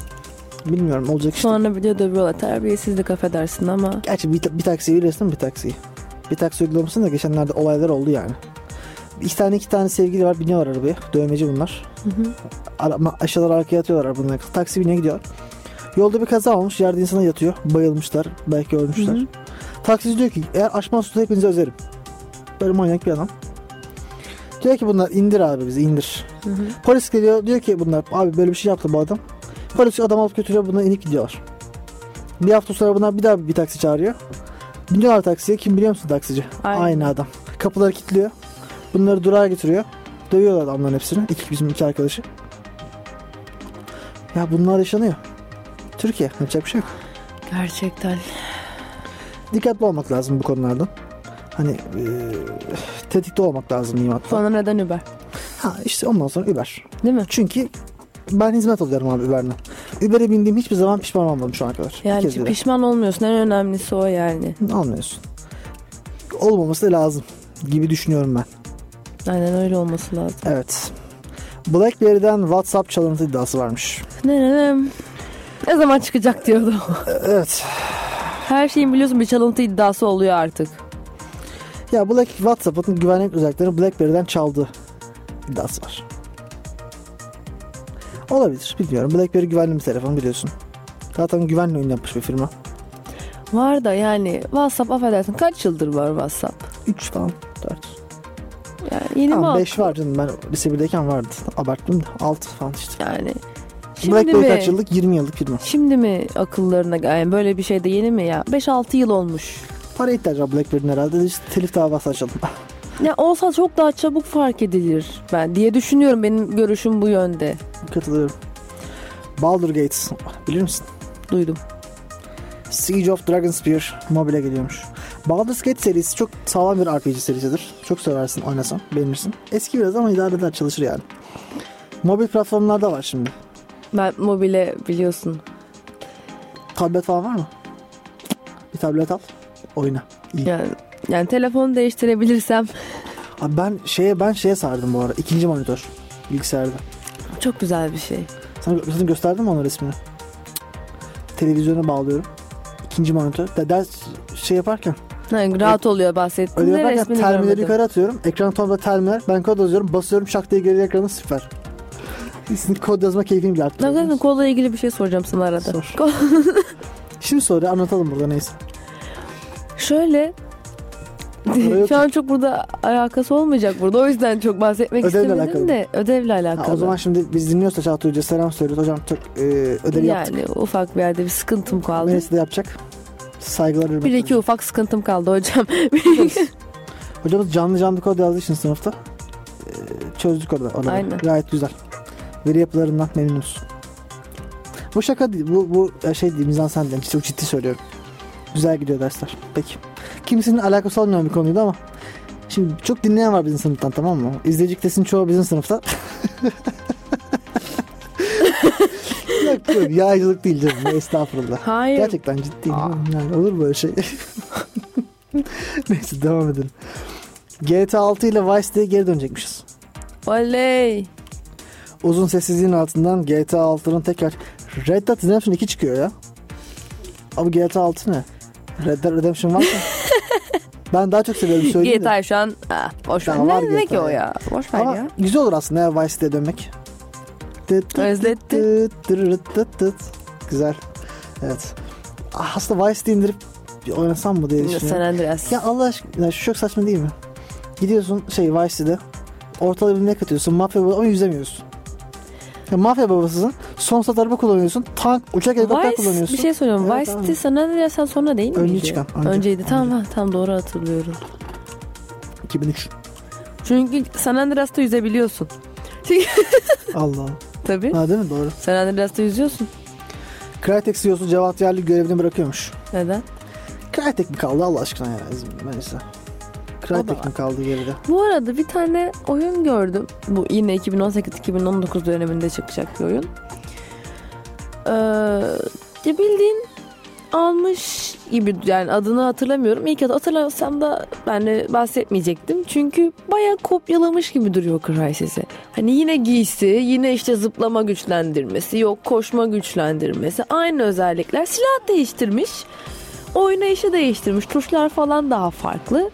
Bilmiyorum olacak işte.
Sonra bile dövüyorlar. Terbiyesizlik affedersin ama.
Gerçi bir, bir taksiyi bilirsin bir taksiyi. Bir taksi uygulamasında geçenlerde olaylar oldu yani. İki tane iki tane sevgili var biniyorlar arabaya. Dövmeci bunlar. Ara, ma- aşağılar arkaya atıyorlar bunlar. Taksi bine gidiyor. Yolda bir kaza olmuş. Yerde insana yatıyor. Bayılmışlar. Belki ölmüşler. Taksici diyor ki eğer açmazsa hepinizi özerim. Böyle manyak bir adam. Diyor ki bunlar indir abi bizi indir. Polis geliyor diyor ki bunlar abi böyle bir şey yaptı bu adam. Polis adam alıp götürüyor bunlar inip gidiyorlar. Bir hafta sonra bunlar bir daha bir taksi çağırıyor. Biniyorlar taksiye kim biliyor musun taksici?
Aynı.
Aynı adam. Kapıları kilitliyor. Bunları durağa getiriyor. Dövüyorlar adamların hepsini. İki, bizim iki arkadaşı. Ya bunlar yaşanıyor. Türkiye yapacak bir şey yok.
Gerçekten.
Dikkatli olmak lazım bu konularda. Hani eee, tetikte olmak lazım diyeyim hatta.
Sonra neden Uber?
Ha işte ondan sonra Uber.
Değil mi?
Çünkü ben hizmet alıyorum abi Uber'den. Uber'e bindiğim hiçbir zaman pişman olmadım şu ana kadar. Bir
Yani
kez bile.
pişman olmuyorsun. En önemlisi o yani.
Almıyorsun. Olmaması da lazım gibi düşünüyorum ben.
Aynen öyle olması lazım.
Evet. Blackberry'den WhatsApp çalıntı iddiası varmış.
Ne ne ne. Ne zaman çıkacak diyordu.
Evet.
Her şeyin biliyorsun bir çalıntı iddiası oluyor artık.
Ya Black WhatsApp'ın güvenlik özelliklerini BlackBerry'den çaldı iddiası var. Olabilir. Bilmiyorum. BlackBerry güvenli bir telefon biliyorsun. Zaten güvenli oyun yapmış bir firma.
Var da yani WhatsApp affedersin kaç yıldır var WhatsApp?
3 falan. 4.
Yani yeni mi
Tamam
aldın?
5 var canım. Ben lise 1'deyken vardı. Abarttım da. 6 falan işte.
Yani şimdi
BlackBerry
mi?
kaç yıllık? 20 yıllık firma.
Şimdi mi akıllarına yani böyle bir şey de yeni mi ya? 5-6 yıl olmuş.
Para ihtiyacı var BlackBerry'nin herhalde. İşte telif davası açalım.
Ya olsa çok daha çabuk fark edilir ben diye düşünüyorum. Benim görüşüm bu yönde.
Katılıyorum. Baldur Gates. Bilir misin?
Duydum.
Siege of Dragonspear mobile geliyormuş. Baldur's Gate serisi çok sağlam bir RPG serisidir. Çok seversin, oynasan, beğenirsin. Eski biraz ama idare eder, çalışır yani. Mobil platformlarda var şimdi.
Ben mobile biliyorsun.
Tablet falan var mı? Bir tablet al, oyna. İyi.
Yani yani telefonu değiştirebilirsem
Abi ben şeye ben şeye sardım bu ara. İkinci monitör bilgisayarda.
çok güzel bir şey.
Sana zaten gösterdim mi onun resmini? Televizyona bağlıyorum. İkinci monitör. De- ders şey yaparken
Yani rahat oluyor bahsettiğinde
Öyle yaparken
resmini
terminali
görmedim.
yukarı atıyorum. Ekran tonunda terminal. Ben kod yazıyorum. Basıyorum şak diye geliyor ekrana sıfır. Sizin kod yazma keyfini bile
Ben
arttırıyor.
zaten kolla ilgili bir şey soracağım sana arada.
Sor.
Kol-
Şimdi sonra anlatalım burada neyse.
Şöyle
Araya
Şu an çok burada alakası olmayacak burada. O yüzden çok bahsetmek
Ödevle
istemedim
alakalı.
de ödevle
Ha,
alakalı.
o zaman şimdi biz dinliyorsa Çağatay Hoca selam söylüyoruz. Hocam çok e, ödevi yaptık.
yani ufak bir yerde bir sıkıntım kaldı.
Neyse de yapacak. Saygılar hürmetler.
Bir iki ufak sıkıntım kaldı hocam. Bir iki-
Hocamız canlı canlı kod yazdığı için sınıfta e, çözdük orada. orada.
Aynen.
Gayet güzel. Veri yapılarından memnunuz. Bu şaka değil. Bu, bu şey değil. Mizansen değil. Çok ciddi söylüyorum. Güzel gidiyor dersler. Peki. Kimsenin alakası olmayan bir konuydu ama şimdi çok dinleyen var bizim sınıftan tamam mı? İzleyici kitlesinin çoğu bizim sınıfta. yok yok yağcılık değil canım. Estağfurullah.
Hayır.
Gerçekten ciddi. Yani olur böyle şey. Neyse devam edelim. GTA 6 ile Vice City'ye geri dönecekmişiz.
Oley.
Uzun sessizliğin altından GTA 6'nın tekrar Red Dead Redemption 2 çıkıyor ya. Abi GTA 6 ne? Red Dead Redemption var mı? ben daha çok seviyorum söyleyeyim de.
GTA şu an ah, boş ver.
Ya var
Ne, ne ki
GTA
o
ya.
ya? Boş ver
Ama
ya.
güzel olur aslında ya Vice City'ye dönmek. Dıt dıt
Özletti.
dıt dırırıt dıt dıt. Güzel. Evet. Ah, Aslında Vice City'yi indirip bir oynasam mı diye düşünüyorum.
San Andreas.
Ya Allah aşkına ya şu çok saçma değil mi? Gidiyorsun şey Vice City'de ortalığı birbirine katıyorsun mafya babası ama yüzemiyorsun. Ya mafya babasısın Son sat araba kullanıyorsun. Tank, uçak, helikopter
Vice
kullanıyorsun.
bir şey söylüyorum.
Evet,
Vice'ti
abi.
sana ne dersen sonra değil mi?
Önce çıkan, önce.
Önceydi. Tamam ha, tam doğru hatırlıyorum.
2003.
Çünkü San Andreas'ta yüzebiliyorsun.
Allah.
Tabii.
Ha değil mi? Doğru.
San Andreas'ta yüzüyorsun.
Crytek CEO'su Cevat Yerli görevini bırakıyormuş.
Neden?
Crytek mi kaldı Allah aşkına ya? Neyse. Crytek mi kaldı geride?
Bu arada bir tane oyun gördüm. Bu yine 2018-2019 döneminde çıkacak bir oyun. Ee, ya bildiğin almış gibi yani adını hatırlamıyorum. İlk adı hatırlasam da ben de bahsetmeyecektim. Çünkü bayağı kopyalamış gibi duruyor Crysis'i. Hani yine giysi, yine işte zıplama güçlendirmesi, yok koşma güçlendirmesi. Aynı özellikler. Silah değiştirmiş. Oynayışı değiştirmiş. Tuşlar falan daha farklı.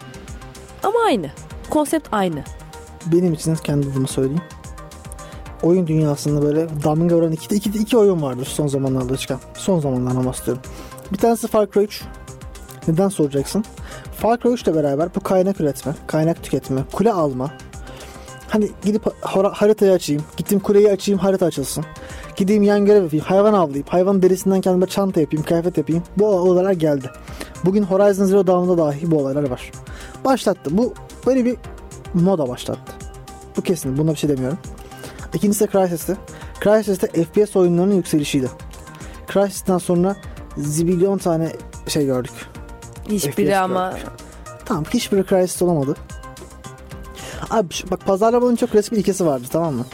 Ama aynı. Konsept aynı.
Benim için kendi adıma söyleyeyim. Oyun dünyasında böyle damga vuran iki, iki, iki oyun vardır son zamanlarda çıkan. Son zamanlarda bahsediyorum. Bir tanesi Far Cry 3. Neden soracaksın? Far Cry 3 ile beraber bu kaynak üretme, kaynak tüketme, kule alma. Hani gidip har- haritayı açayım, gittim kuleyi açayım, harita açılsın. Gideyim yan görev yapayım, hayvan avlayıp, hayvan derisinden kendime çanta yapayım, kıyafet yapayım. Bu olaylar geldi. Bugün Horizon Zero Dawn'da dahi bu olaylar var. Başlattı. Bu böyle bir moda başlattı. Bu kesin. Buna bir şey demiyorum. İkincisi de Crysis'ti. Crysis'te FPS oyunlarının yükselişiydi. Crysis'ten sonra zibilyon tane şey gördük. FPS
Hiçbiri
gördük.
ama
Tamam hiçbiri Crysis olamadı. Abi şu- bak pazarlamanın çok resmi ilkesi vardı tamam mı?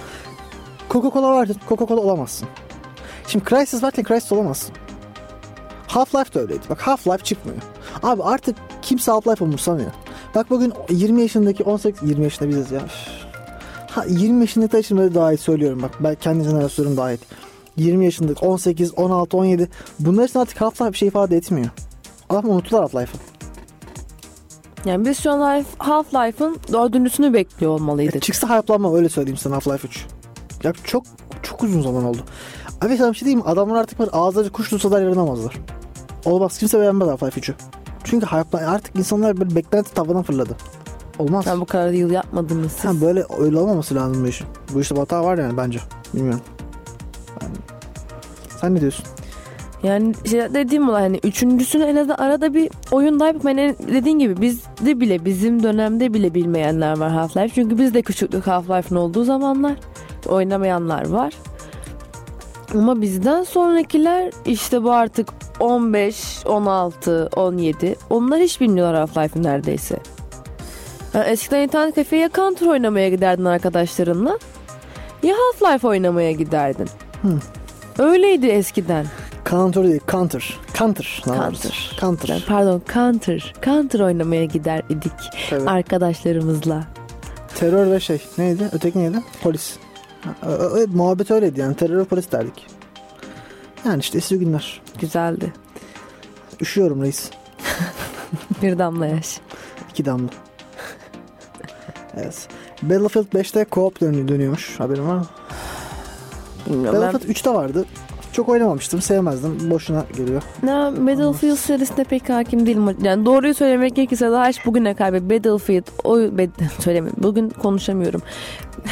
Coca-Cola vardı. Coca-Cola olamazsın. Şimdi Crysis varken Crysis olamazsın. Half-Life de öyleydi. Bak Half-Life çıkmıyor. Abi artık kimse Half-Life umursamıyor. Bak bugün 20 yaşındaki 18 20 yaşında biziz ya. Üf. Ha, 20 yaşındaki taşınmada dahil söylüyorum bak. Ben kendi jenerasyonum dahil. 20 yaşındaki 18, 16, 17 bunlar için artık Half-Life bir şey ifade etmiyor. Adam unuttular Half-Life'ı.
yani biz şu an Half- Half-Life'ın dördüncüsünü bekliyor olmalıydık.
Çıksa hype'lanma öyle söyleyeyim sana Half-Life 3. Ya çok çok uzun zaman oldu. Abi sana bir şey diyeyim mi? Adamlar artık böyle ağızları kuş tutsalar yaranamazlar. Olmaz. Kimse beğenmez Half-Life 3'ü. Çünkü hype, artık insanlar böyle beklenti tavandan fırladı. Olmaz.
Sen bu kadar yıl yapmadınız siz.
Ha, böyle öyle olmaması lazım bu işin. Bu işte bir hata var yani bence. Bilmiyorum. Yani- Sen ne diyorsun?
Yani şey dediğim olay hani üçüncüsünü en azından arada bir oyundayıp ben en- dediğin gibi bizde bile bizim dönemde bile bilmeyenler var Half-Life. Çünkü biz de küçüklük Half-Life'ın olduğu zamanlar oynamayanlar var. Ama bizden sonrakiler işte bu artık 15, 16, 17. Onlar hiç bilmiyorlar Half-Life'ı neredeyse. Yani eskiden internet kafeye ya Counter oynamaya giderdin arkadaşlarınla ya Half-Life oynamaya giderdin. Öyleydi eskiden.
Counter değil, Counter. Counter. ne
Counter.
yapıyorsun? Counter.
Yani pardon Counter. Counter oynamaya gider idik
Tabii.
arkadaşlarımızla.
Terör ve şey neydi? Öteki neydi? Polis. Ha, ö- ö- muhabbet öyleydi yani. Terör ve polis derdik. Yani işte eski günler.
Güzeldi.
Üşüyorum reis.
Bir damla yaş.
İki damla. evet. Battlefield 5'te co-op dönüyor, dönüyormuş. Haberin var mı?
Bilmiyorum ben.
Battlefield 3'te vardı. Çok oynamamıştım. Sevmezdim. Boşuna geliyor.
Ne, Battlefield serisine pek hakim değilim. Yani doğruyu söylemek gerekirse daha hiç bugüne kadar Battlefield oy bed, söyleme. Bugün konuşamıyorum.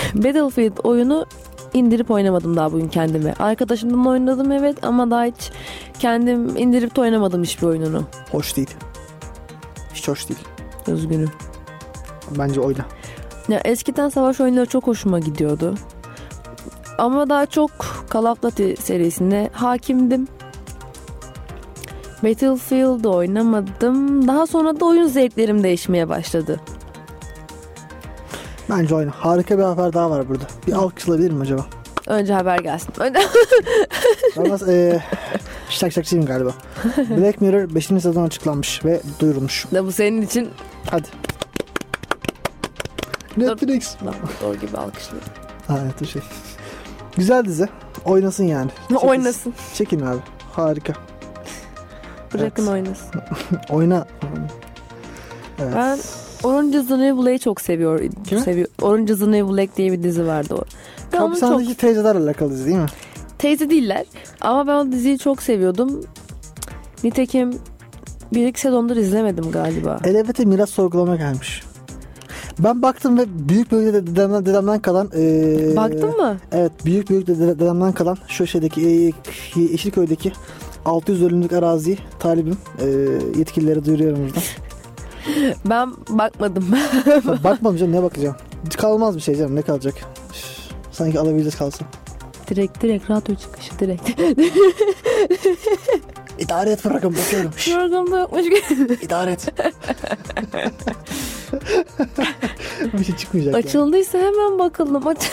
Battlefield oyunu indirip oynamadım daha bugün kendime. Arkadaşımla oynadım evet ama daha hiç kendim indirip de oynamadım hiçbir oyununu.
Hoş değil. Hiç hoş değil.
Üzgünüm.
Bence oyna.
Ya eskiden savaş oyunları çok hoşuma gidiyordu. Ama daha çok Call of Duty serisine hakimdim. Battlefield'ı oynamadım. Daha sonra da oyun zevklerim değişmeye başladı.
Bence oyna. Harika bir haber daha var burada. Bir alkışlayabilir mi acaba?
Önce haber gelsin. Önce-
Ama eee e, şak şakçıyım galiba. Black Mirror 5. sezon açıklanmış ve duyurulmuş.
da bu senin için
Hadi. Netflix.
Lan, doğru gibi alkışlıyor.
Ha, evet, o şey. Güzel dizi. Oynasın yani. Çekin-
Oynasın.
Çekin abi. Harika.
Bırakın oynasın.
Oyna. Evet.
Ben Orange is the New Black'i çok seviyorum.
Kimi?
Seviyor. Orange is the New Black diye bir dizi vardı o. Ben onu çok
Hapishanedeki teyzelerle alakalıyız değil mi?
teyze değiller. Ama ben o diziyi çok seviyordum. Nitekim bir iki sezondur izlemedim galiba.
Elevete miras sorgulama gelmiş. Ben baktım ve büyük büyük dede- dedemden, dedemden kalan... ee,
Baktın mı?
Evet büyük büyük dede- dedemden kalan şu şeydeki ee, Yeşilköy'deki 600 dönümlük araziyi talibim. Ee, yetkililere duyuruyorum buradan.
Ben bakmadım.
Ya Bakmam canım ne bakacağım. Kalmaz bir şey canım ne kalacak. Üf, Sanki alabileceğiz kalsın.
direkt direkt radyo çıkışı direkt.
İdare et bırakın bakıyorum. Şş,
Programda yokmuş gibi.
İdare et. bir şey çıkmayacak ya.
Açıldıysa hemen bakalım. Aç-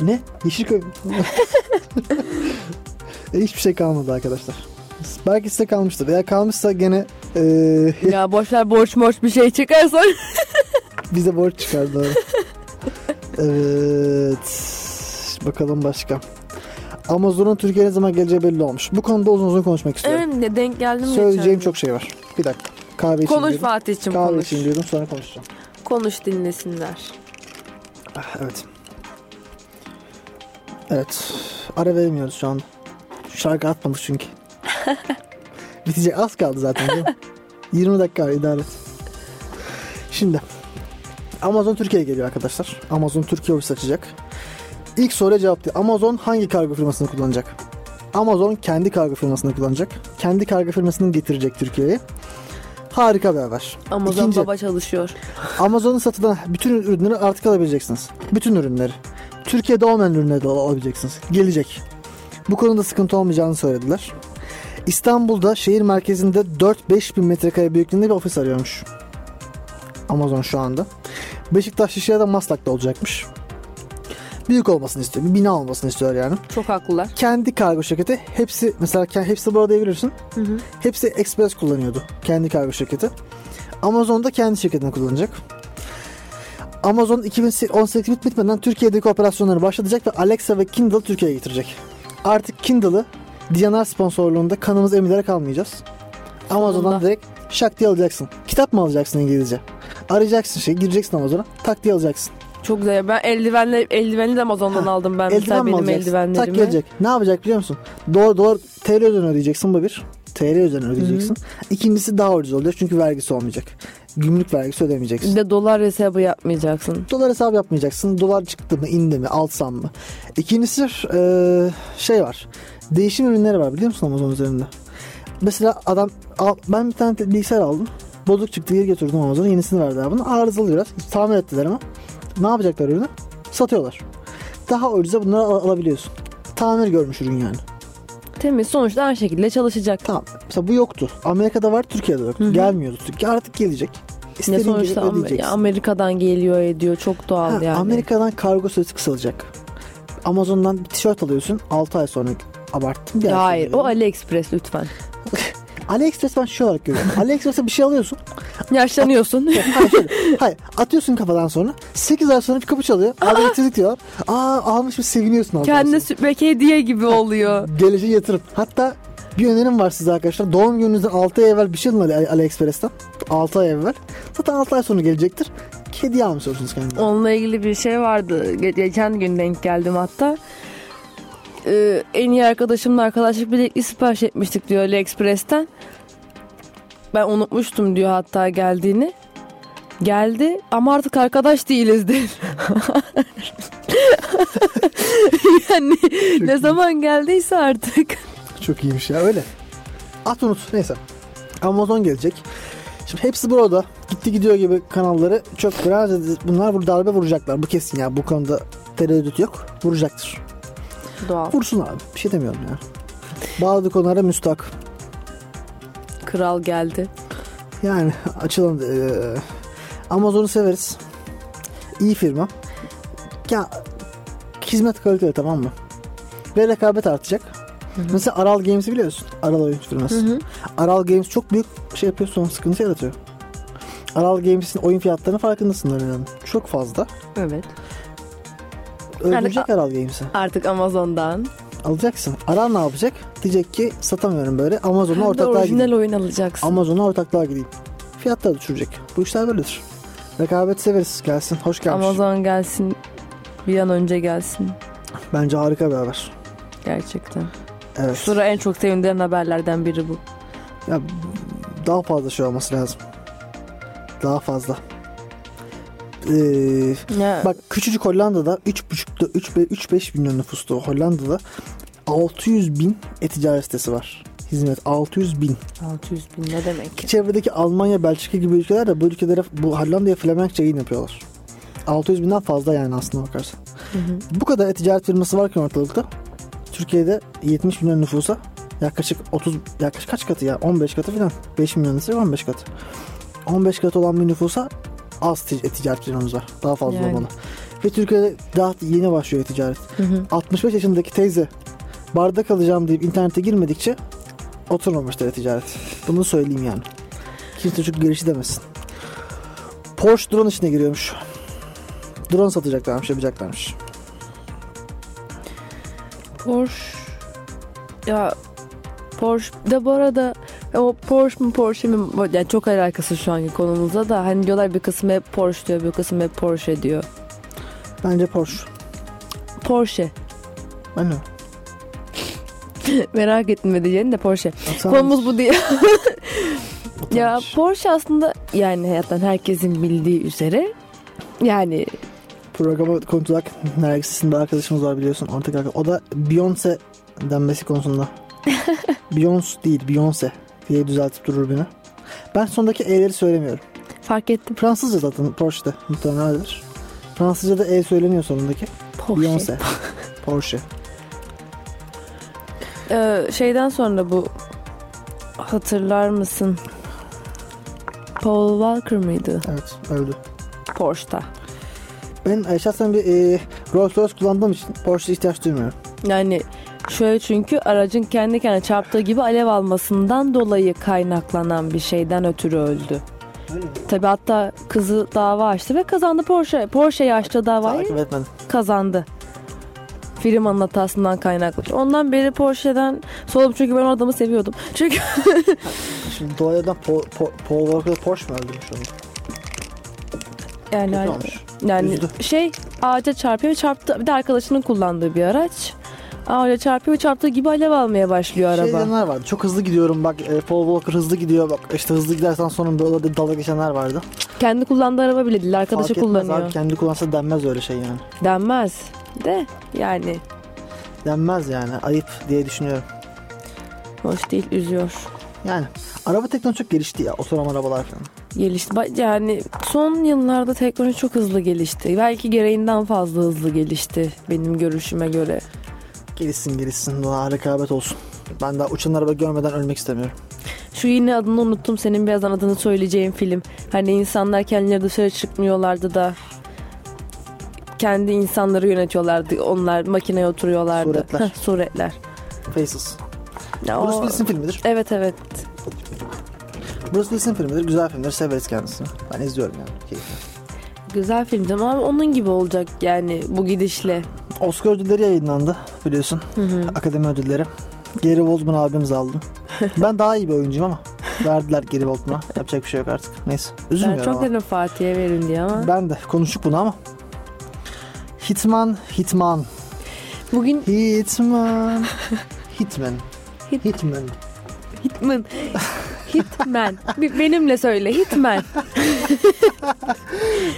Ne? Yeşilköy mü? E, Hiçbir şey kalmadı arkadaşlar. Belki size kalmıştır. Eğer kalmışsa gene e,
ya boşver borç borç bir şey çıkarsa.
bize borç çıkar doğru. evet. Bakalım başka. Amazon'un Türkiye'ye ne zaman geleceği belli olmuş. Bu konuda uzun uzun konuşmak istiyorum.
Benim de denk geldim. geçen
Söyleyeceğim
gün.
çok şey var. Bir dakika. Kahve için
Konuş
diyordum.
Fatih'cim
Kahve
konuş.
için diyordum sonra konuşacağım.
Konuş dinlesinler.
Ah, evet. Evet. Ara vermiyoruz şu an. Şarkı atmadık çünkü. Bitecek az kaldı zaten değil mi? 20 dakika var idare et. Şimdi. Amazon Türkiye'ye geliyor arkadaşlar. Amazon Türkiye ofisi açacak. İlk soruya cevap diyor. Amazon hangi kargo firmasını kullanacak? Amazon kendi kargo firmasını kullanacak. Kendi kargo firmasını getirecek Türkiye'ye. Harika bir haber.
Amazon
İkinci-
baba çalışıyor.
Amazon'da satılan bütün ürünleri artık alabileceksiniz. Bütün ürünleri. Türkiye'de olmayan ürünleri de al- alabileceksiniz. Gelecek. Bu konuda sıkıntı olmayacağını söylediler. İstanbul'da şehir merkezinde 4-5 bin metrekare büyüklüğünde bir ofis arıyormuş. Amazon şu anda. Beşiktaş Şişli'de Maslak'ta olacakmış. Büyük olmasını istiyor. Bir bina olmasını istiyor yani.
Çok haklılar.
Kendi kargo şirketi hepsi mesela ke- hepsi burada diyebilirsin.
Hı hı.
Hepsi Express kullanıyordu. Kendi kargo şirketi. Amazon da kendi şirketini kullanacak. Amazon 2018 bit- bitmeden Türkiye'deki operasyonları başlatacak ve Alexa ve Kindle Türkiye'ye getirecek. Artık Kindle'ı DNR sponsorluğunda kanımız emirlere kalmayacağız. Amazon'dan
Sonunda.
direkt şak diye alacaksın. Kitap mı alacaksın İngilizce? Arayacaksın şey, gireceksin Amazon'a, tak diye alacaksın.
Çok güzel. Ben eldivenle eldivenli de Amazon'dan
Ha,
aldım ben.
Eldiven
Mesela
mi
benim
alacaksın? Tak
eldivenlerimi.
gelecek. Ne yapacak biliyor musun? Doğru doğru TL üzerinden ödeyeceksin bu bir. TL üzerinden ödeyeceksin. İkincisi daha ucuz olacak çünkü vergisi olmayacak. Gümrük vergisi ödemeyeceksin.
Bir de dolar hesabı yapmayacaksın.
Dolar hesabı yapmayacaksın. Dolar çıktı mı, indi mi, alsam mı? İkincisi e, şey var. Değişim ürünleri var biliyor musun Amazon üzerinde? Mesela adam al- ben bir tane bilgisayar aldım. Bozuk çıktı geri götürdüm Amazon'a. Yenisini verdiler bana. Arızalı biraz. Tamir ettiler ama. Ne yapacaklar ürünü? Satıyorlar. Daha ucuza bunları al- alabiliyorsun. Tamir görmüş ürün yani.
Temiz sonuçta her şekilde çalışacak.
Tamam. Mesela bu yoktu. Amerika'da var, Türkiye'de yoktu. Gelmiyordu. Türkiye artık gelecek.
Ne
İstediğin gibi
sonuçta Am-
ödeyeceksin.
ya Amerika'dan geliyor ediyor. Çok doğal
Ha,
yani.
Amerika'dan kargo süresi kısalacak. Amazon'dan bir tişört alıyorsun 6 ay sonra abarttım. Bir şey ay sonra
Hayır o
veriyorum.
AliExpress lütfen.
AliExpress ben şu olarak görüyorum. AliExpress'e bir şey alıyorsun.
Yaşlanıyorsun.
Hayır, şöyle, hayır atıyorsun kafadan sonra 8 ay sonra bir kapı çalıyor. Abi getirdik diyorlar. Aa almış bir seviniyorsun. aldıktan
Kendine
sonra.
süpmek hediye gibi oluyor.
Geleceğe yatırım. Hatta bir önerim var size arkadaşlar. Doğum gününüzden 6 ay evvel bir şey alın Ali- AliExpress'ten. 6 ay evvel. Zaten 6 ay sonra gelecektir. Kedi almış olursunuz kendine.
Onunla ilgili bir şey vardı. Ge- Geçen gün denk geldim hatta. Ee, en iyi arkadaşımla arkadaşlık bilekliği sipariş etmiştik diyor AliExpress'ten. Ben unutmuştum diyor hatta geldiğini. Geldi ama artık arkadaş değiliz diyor. yani ne zaman geldiyse artık.
Çok iyiymiş ya öyle. At unut neyse. Amazon gelecek. Şimdi hepsi burada. Gitti gidiyor gibi kanalları çok biraz bunlar bu darbe vuracaklar. Bu kesin ya. Bu konuda tereddüt yok. Vuracaktır.
Doğal.
Vursun abi. Bir şey demiyorum ya. Bazı konulara müstak.
Kral geldi.
Yani açılan eee, Amazon'u severiz. İyi firma. Ya hizmet kaliteli tamam mı? Ve rekabet artacak. Mesela Aral Games'i biliyorsun. Aral oyun firması. Aral Games çok büyük şey yapıyor sonra sıkıntı yaratıyor. Aral Games'in oyun fiyatlarının farkındasınlar yani. Çok fazla.
Evet.
Öldürecek Aral Games'i.
Artık Amazon'dan.
Alacaksın. Aral ne yapacak? Diyecek ki satamıyorum böyle. Amazon'a
Hem de
ortaklığa gideyim.
orijinal oyun alacaksın.
Amazon'a ortaklığa gideyim. Fiyatları düşürecek. Bu işler böyledir. Rekabet severiz. Gelsin. Hoş gelmiş.
Amazon gelsin. Bir an önce gelsin.
Bence harika bir haber.
Gerçekten.
Evet.
Sonra en çok sevindiren haberlerden biri bu.
Ya, daha fazla şey olması lazım. Daha fazla. e,
Ya,
Bak küçücük Hollanda'da 3,5'da 3-5 milyon nüfuslu Hollanda'da 600 bin e-ticaret sitesi var. Hizmet 600 bin.
600 bin ne demek?
Çevredeki Almanya, Belçika gibi ülkeler de bu ülkelere, bu Hollanda'ya Flemenkçe yayın yapıyorlar. 600 binden fazla yani aslında bakarsan. Bu kadar e-ticaret firması varken ortalıkta Türkiye'de 70 milyon nüfusa yaklaşık 30 yaklaşık kaç katı ya 15 katı falan 5 milyon ise 15 katı. 15 katı olan bir nüfusa az ti- e-ticaret firmamız var. Daha fazla
Yani.
olmalı. Ve Türkiye'de daha yeni başlıyor e-ticaret.
Hı hı.
65 yaşındaki teyze bardak alacağım deyip internete girmedikçe oturmamıştır ticaret. Bunu söyleyeyim yani. Kimse çok girişi demesin. Porsche drone işine giriyormuş. Drone satacaklarmış, yapacaklarmış.
Porsche ya Porsche de bu arada o Porsche mu Porsche mi yani çok alakası şu anki konumuzda da hani diyorlar bir kısmı hep Porsche diyor bir kısmı hep Porsche diyor.
Bence Porsche.
Porsche.
Ben ne?
Merak ettim ne diyeceğini de Porsche.
Baksana.
Konumuz bu diye. ya
Utanmış.
Porsche aslında yani hayattan herkesin bildiği üzere yani
Programa kontak Nergis isimli arkadaşımız var biliyorsun. Ortak arkadaş. O da Beyoncé denmesi konusunda. Beyoncé değil, Beyoncé diye düzeltip durur beni. Ben sondaki E'leri söylemiyorum.
fark ettim
Fransızca zaten Porsche'de muhtemelen öyledir. Fransızca'da E söyleniyor sonundaki.
Porsche.
Beyoncé. Porsche.
Ee, şeyden sonra bu hatırlar mısın? Paul Walker mıydı
Evet öldü.
Porsche'ta?
Ben e, şahsen bir e, Rolls Royce kullandığım için Porsche'ye ihtiyaç duymuyorum.
Yani şöyle çünkü aracın kendi kendine çarptığı gibi alev almasından dolayı kaynaklanan bir şeyden ötürü öldü. Tabi hatta kızı dava açtı ve kazandı Porsche. Porsche'yi açtı davayı
Takip etmedim.
kazandı. Firmanın hatasından kaynaklı. Ondan beri Porsche'den soğudum çünkü ben o adamı seviyordum. Çünkü
Şimdi dolayıdan po, po, Paul Walker'da Porsche mi öldürmüş onu?
yani
Kötü
hani-
olmuş.
Yani
Üzdü.
şey ağaca çarpıyor ve çarptı. Bir de arkadaşının kullandığı bir araç. Ağaca çarpıyor ve çarptığı gibi alev almaya başlıyor
Şey
araba.
diyenler vardı. Çok hızlı gidiyorum bak e, Paul Walker hızlı gidiyor bak işte hızlı gidersen sonunda olur diye dalga geçenler vardı.
Kendi kullandığı araba bile değil.
Fark
Arkadaşı
etmez
şey kullanıyor.
Abi, kendi kullansa denmez öyle şey yani.
Denmez. De yani
Denmez yani ayıp diye düşünüyorum.
hoş değil üzüyor.
Yani araba teknolojisi çok gelişti ya otonom arabalar falan.
Gelişti. Ba- Yani son yıllarda teknoloji çok hızlı gelişti. Belki gereğinden fazla hızlı gelişti benim görüşüme göre.
Gelişsin gelişsin. Daha rekabet olsun. Ben daha uçan araba görmeden ölmek istemiyorum.
Şu yine adını unuttum senin birazdan adını söyleyeceğim film. Hani insanlar kendileri dışarı çıkmıyorlardı da kendi insanları yönetiyorlardı. Onlar makineye oturuyorlardı.
Suretler.
Heh, suretler.
Faces.
Ya
Bruce
o-
Willis'in filmidir.
Evet evet.
Bruce Willis'in filmidir. Güzel filmdir. Severiz kendisini. Ben izliyorum yani. Keyifli.
Güzel filmdi ama onun gibi olacak yani bu gidişle.
Oscar ödülleri yayınlandı biliyorsun. Akademi ödülleri. Gary Oldman abimiz aldı. ben daha iyi bir oyuncuyum ama. Verdiler Gary Oldman'a. Yapacak bir şey yok artık. Neyse.
Ben
Üzülmüyorum
çok
ama.
dedim Fatih'e verin diye ama.
Ben de konuştuk bunu ama. Hitman, Hitman,
Bugün
Hitman, Hitman,
Hit-
Hitman.
Hitman. Hitman. Bir Benimle söyle. Hitman.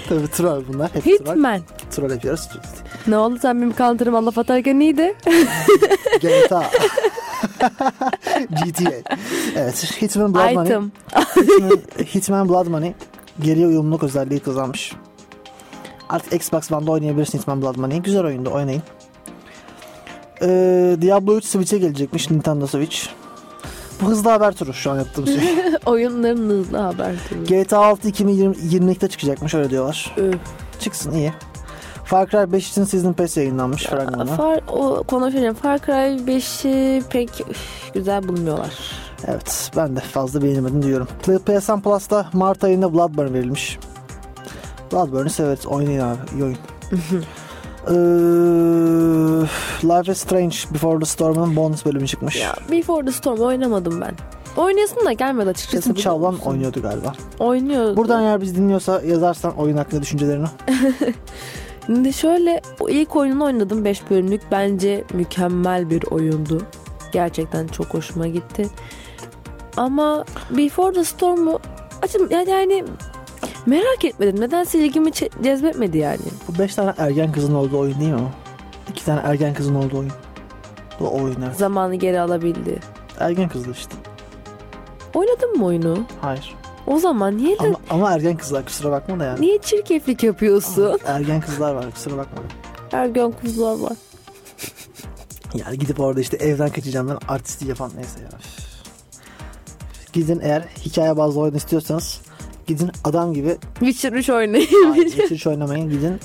Tabii troll bunlar. Hep troll.
Hitman.
Troll yapıyoruz.
Ne oldu sen benim counter'ıma laf atarken iyiydi.
GTA. GTA. Evet. Hitman Blood Money.
Item.
Hitman, Hitman Blood Money geriye uyumluluk özelliği kazanmış. Artık Xbox One'da oynayabilirsin Hitman Blood Money'i. Güzel oyunda oynayın. Ee, Diablo 3 Switch'e gelecekmiş Nintendo Switch. Bu hızlı haber turu şu an yaptığım şey.
Oyunların hızlı haber türü.
GTA 6 2022'de çıkacakmış öyle diyorlar.
Üf.
Çıksın iyi. Far Cry 5 için Season Pass yayınlanmış fragmanı.
Far, o konuşacağım. Far Cry 5'i pek üf, güzel bulmuyorlar.
Evet ben de fazla beğenemedim diyorum. Play- PSN Plus'ta Mart ayında Bloodborne verilmiş. Bloodborne'ı severiz. Oynayın abi. iyi oyun. Ee, Life is Strange Before the Storm'ın bonus bölümü çıkmış.
Ya Before the Storm oynamadım ben. Oynayasın da gelmedi açıkçası.
Bizim
biliyor
Çavlan
musun?
oynuyordu galiba.
Oynuyor.
Buradan eğer biz dinliyorsa yazarsan oyun hakkında düşüncelerini.
Şimdi şöyle o ilk oyununu oynadım 5 bölümlük. Bence mükemmel bir oyundu. Gerçekten çok hoşuma gitti. Ama Before the Storm'u açım yani, yani Merak etmedim. Nedense ilgimi çe- cezbetmedi yani.
Bu 5 tane ergen kızın olduğu oyun değil mi o? 2 tane ergen kızın olduğu oyun. Bu o oyun evet.
Zamanı geri alabildi.
Ergen kızlar işte.
Oynadın mı oyunu?
Hayır.
O zaman niye
Ama, ama ergen kızlar kusura bakma da yani.
niye çirkeflik yapıyorsun?
Ergen kızlar var kusura bakma.
Ergen kuzular var.
Yani gidip orada işte evden kaçacağım ben artisti yapan neyse ya. Gidin eğer hikaye bazlı oyun istiyorsanız gidin adam gibi
Witcher 3 oynayayım.
Hayır, Witcher üç oynamayın. Gidin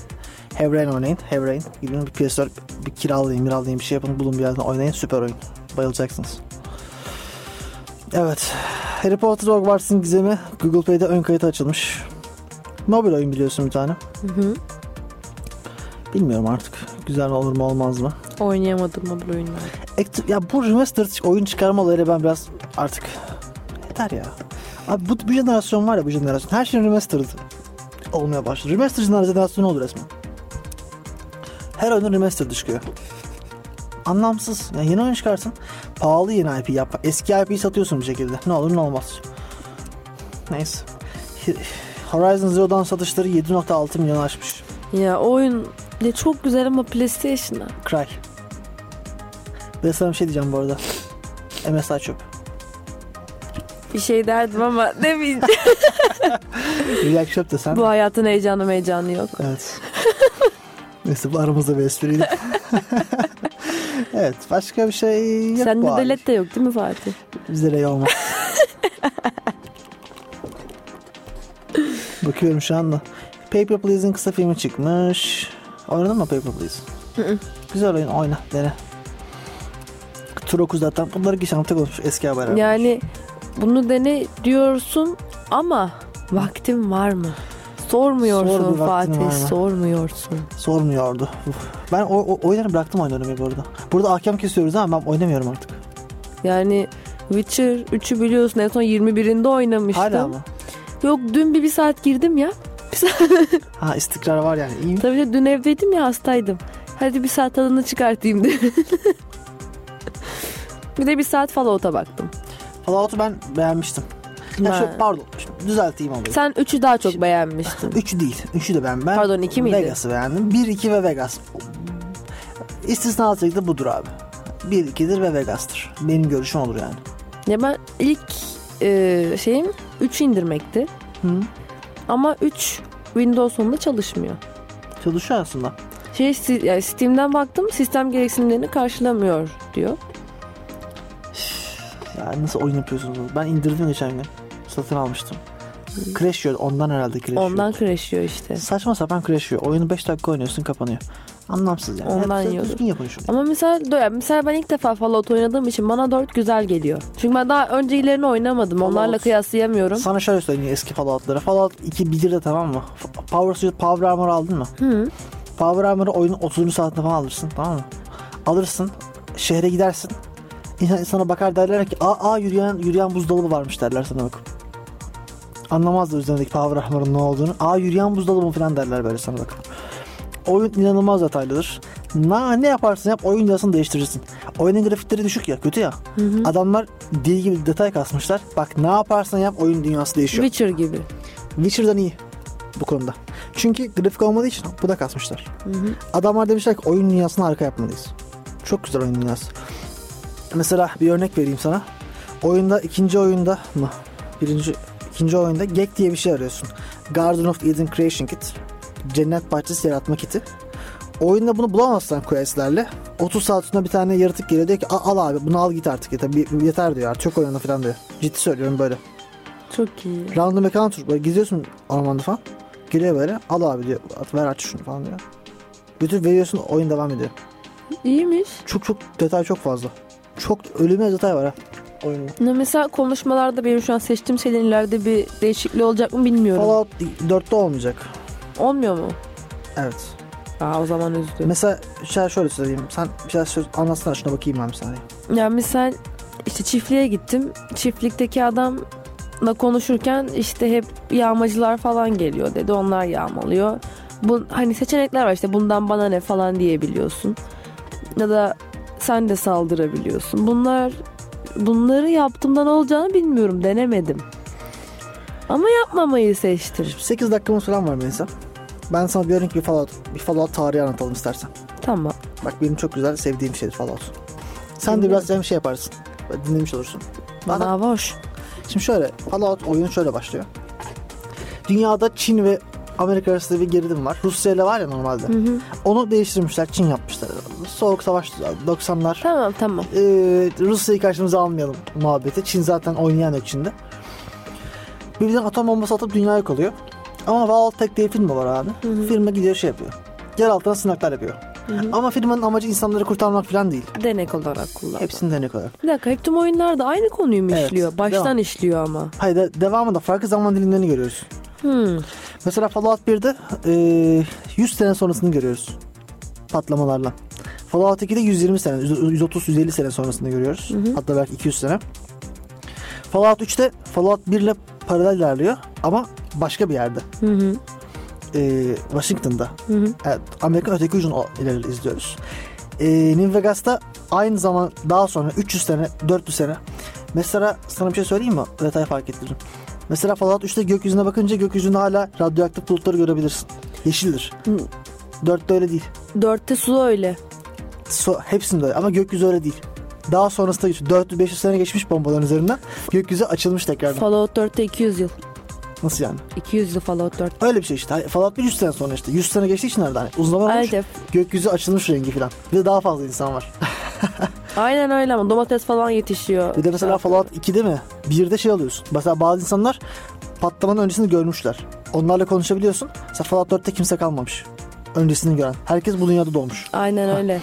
Hebrain oynayın. Hebrain. Gidin bir PS4 bir kiralayın, miralayın bir şey yapın. Bulun bir yerden oynayın. Süper oyun. Bayılacaksınız. Evet. Harry Potter Hogwarts'ın gizemi Google Play'de ön kayıt açılmış. Mobil oyun biliyorsun bir tane.
Hı-hı.
Bilmiyorum artık. Güzel olur mu olmaz mı?
Oynayamadım bu oyunları.
Acti- ya bu remastered oyun çıkarma olayıyla ben biraz artık yeter ya. Abi bu, bu jenerasyon var ya bu jenerasyon. Her şey remastered olmaya başladı. Remastered jenerasyon olur resmen. Her oyunun remastered çıkıyor. Anlamsız. Yani yeni oyun çıkarsın. Pahalı yeni IP yap. Eski IP'yi satıyorsun bir şekilde. Ne olur ne olmaz. Neyse. Horizon Zero Dawn satışları 7.6 milyon aşmış.
Ya o oyun de çok güzel ama PlayStation'a.
Cry. Ve sana bir şey diyeceğim bu arada. MSI çöp.
Bir şey derdim ama demeyeceğim.
Relax Shop da sen.
bu hayatın heyecanı heyecanı yok.
Evet. Neyse bu aramızda bir espriydi. evet başka bir şey yok
Sende
bu
de
abi.
led de yok değil mi Fatih?
Bizde rey olmaz. Bakıyorum şu anda. Paper Please'in kısa filmi çıkmış. Oynadın mı Paper Please? Güzel oyun oyna dene. Tur 9 zaten bunları geçen hafta konuşmuş eski haber.
Yani bunu dene diyorsun ama vaktim var mı? Sormuyorsun
Sor bir vaktin var
Fatih,
mı?
sormuyorsun.
Sormuyordu. Uf. Ben o, o oyunları bıraktım oynamayı bu arada. Burada hakem kesiyoruz ama ben oynamıyorum artık.
Yani Witcher 3'ü biliyorsun en son 21'inde oynamıştım.
Hala mı?
Yok dün bir, bir saat girdim ya.
Ha istikrar var yani. İyi.
Tabii de dün evdeydim ya hastaydım. Hadi bir saat tadını çıkartayım diye. bir de bir saat Fallout'a baktım.
Fallout'u ben beğenmiştim. Ya
Ha.
şu, pardon şu- düzelteyim olayı.
Sen 3'ü daha çok beğenmiştin.
Üçü değil. Üçü de ben. ben
Pardon, iki miydi?
Vegas'ı beğendim. Bir, iki ve Vegas. İstisna da budur abi. Bir, ikidir ve Vegas'tır. Benim görüşüm olur yani.
Ya ben ilk e, şeyim 3 indirmekti.
Hı.
Ama 3 Windows sonunda çalışmıyor.
Çalışıyor aslında.
Şey, si- yani Steam'den baktım sistem gereksinimlerini karşılamıyor diyor.
Ya nasıl oyun yapıyorsunuz? bunu? Ben indirdim geçen gün. Satın almıştım. Crash yiyor. Ondan herhalde crash yiyor.
Ondan crash'lıyor işte.
Saçma sapan crash yiyor. Oyunu 5 dakika oynuyorsun kapanıyor. Anlamsız yani.
Ondan
Hep-
yiyordur.
Düzgün yapın şunu.
Ama mesela, do- mesela ben ilk defa Fallout oynadığım için bana 4 güzel geliyor. Çünkü ben daha öncekilerini oynamadım. Onlarla
Fallout.
kıyaslayamıyorum.
Sana şöyle söyleyeyim eski Fallout'ları. Fallout 2 bilir de tamam mı? F- Power Suit, Power Armor aldın mı?
Hı.
Power Armor'ı oyunun 30. saatinde falan alırsın tamam mı? Alırsın, şehre gidersin. İnsan insana bakar derler ki aa, aa yürüyen, yürüyen buzdolabı varmış derler sana bakıp. Anlamazlar üzerindeki Power Armor'ın ne olduğunu. Aa yürüyen buzdolabı mı?" falan derler böyle sana bakıp. Oyun inanılmaz detaylıdır. Na, ne yaparsın yap oyun yasını değiştirirsin. Oyunun grafikleri düşük ya kötü ya. Adamlar deli gibi detay kasmışlar. Bak ne yaparsan yap oyun dünyası değişiyor.
Witcher gibi.
Witcher'dan iyi bu konuda. Çünkü grafik olmadığı için bu da kasmışlar. Adamlar demişler ki oyun dünyasını harika yapmalıyız. Çok güzel oyun dünyası. Mesela bir örnek vereyim sana. Oyunda ikinci oyunda mı? Birinci ikinci oyunda Gek diye bir şey arıyorsun. Garden of Eden Creation Kit. Cennet Bahçesi Yaratma Kiti. Oyunda bunu bulamazsan questlerle 30 saat sonra bir tane yaratık geliyor diyor ki "A- al abi bunu al git artık yeter, bir- yeter diyor artık çok oynadı falan diyor. Ciddi söylüyorum böyle.
Çok iyi.
Random encounter böyle geziyorsun ormanda falan. Geliyor böyle al abi diyor at, ver aç şunu falan diyor. Götür veriyorsun oyun devam ediyor.
İyiymiş.
Çok çok detay çok fazla. Çok ölüme detay var ha oyunda.
Ne Mesela konuşmalarda benim şu an seçtiğim şeylerin ileride bir değişikliği olacak mı bilmiyorum.
Fallout 4'te olmayacak.
Olmuyor mu?
Evet.
Aa, o zaman üzdü.
Mesela şey şöyle söyleyeyim. Sen bir şey söz anlatsana şuna bakayım ben bir saniye.
Yani mesela işte çiftliğe gittim. Çiftlikteki adamla konuşurken işte hep yağmacılar falan geliyor dedi. Onlar yağmalıyor. Bu, hani seçenekler var işte bundan bana ne falan diyebiliyorsun. Ya da sen de saldırabiliyorsun. Bunlar bunları yaptığımda ne olacağını bilmiyorum. Denemedim. Ama yapmamayı seçtim.
8 dakikamız falan var Melisa. Ben sana bir örnek bir Fallout, bir Fallout tarihi anlatalım istersen.
Tamam.
Bak benim çok güzel sevdiğim şeydir Fallout. Sen de
Dinliyorum.
biraz hem şey yaparsın. Böyle Dinlemiş olursun. Bana-
Bana hoş.
Şimdi şöyle Fallout oyunu şöyle başlıyor. Dünyada Çin ve Amerika arasında bir gerilim var. Rusya ile var ya normalde. Onu değiştirmişler. Çin yapmışlar. Soğuk savaş 90'lar.
Tamam tamam.
Ee, Rusya'yı karşımıza almayalım muhabbeti. Çin zaten oynayan yok Çin'de. Birbirinden atom bombası atıp dünya yok oluyor. Ama Valve tek diye firma var abi. Firma gidiyor şey yapıyor. Yer altına sınaklar yapıyor. Ama firmanın amacı insanları kurtarmak falan değil.
Denek olarak kullandım.
Hepsini denek olarak.
Bir dakika hep tüm oyunlarda aynı konuyu mu
Evet,
işliyor? Baştan
devam.
işliyor ama.
Hayır de, devamında farklı zaman dilimlerini görüyoruz.
Hmm.
Mesela Fallout 1'de e, 100 sene sonrasını görüyoruz. Patlamalarla. Fallout 2'de 120 sene, 130-150 sene sonrasını görüyoruz. Hatta belki 200 sene. Fallout 3'te Fallout 1 ile paralel ilerliyor ama başka bir yerde.
Hı hı.
E, Washington'da.
Hı hı.
Evet, Amerika öteki ucunu ileri izliyoruz. E, New Vegas'ta aynı zaman daha sonra 300 sene, 400 sene. Mesela sana bir şey söyleyeyim mi? Detay fark ettirdim. Mesela Fallout 3'te gökyüzüne bakınca gökyüzünde hala radyoaktif bulutları görebilirsin. Yeşildir.
Hı.
4'te öyle değil.
Dörtte su öyle.
So, hepsinde öyle ama gökyüzü öyle değil. Daha sonrasında 400-500 sene geçmiş bombaların üzerinden gökyüzü açılmış tekrardan.
Fallout 4'te 200 yıl.
Nasıl yani?
200 yıl Fallout 4.
Öyle bir şey işte. Hani Fallout 1 100 sene sonra işte. 100 sene geçtiği için nerede? Hani uzun zaman olmuş.
Aynen.
Gökyüzü açılmış rengi falan. Bir de daha fazla insan var.
Aynen öyle ama domates falan yetişiyor.
Bir de mesela Fallout 2'de mi? 1'de şey alıyorsun. Mesela bazı insanlar patlamanın öncesini görmüşler. Onlarla konuşabiliyorsun. Mesela Fallout 4'te kimse kalmamış. Öncesini gören. Herkes bu dünyada doğmuş.
Aynen öyle.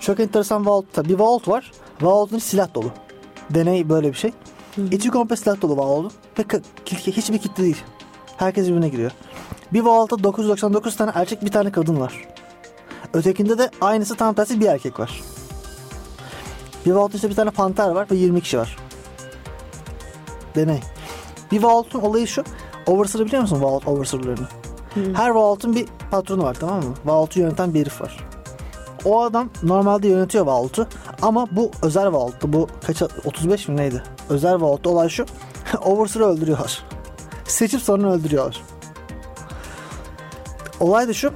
Çok enteresan Vault'ta. Bir Vault var. Vault'un içi silah dolu. Deney böyle bir şey. İçi komple silah dolu Vault'un. Ve ka- kil- hiçbir kitle değil. Herkes birbirine giriyor. Bir Vault'ta 999 tane erkek bir tane kadın var. Ötekinde de aynısı tam tersi bir erkek var. Bir Vault'ta işte bir tane panter var ve 20 kişi var. Deney. Bir Vault'un olayı şu. Overseer'ı biliyor musun Vault Overseer'larını? Her Vault'un bir patronu var tamam mı? Vault'u yöneten bir herif var. O adam normalde yönetiyor Vault'u ama bu özel Vault'tu. Bu kaç 35 mi neydi? Özel Vault'ta olay şu. Overseer'ı öldürüyorlar. Seçip sonra öldürüyorlar. Olay da şu.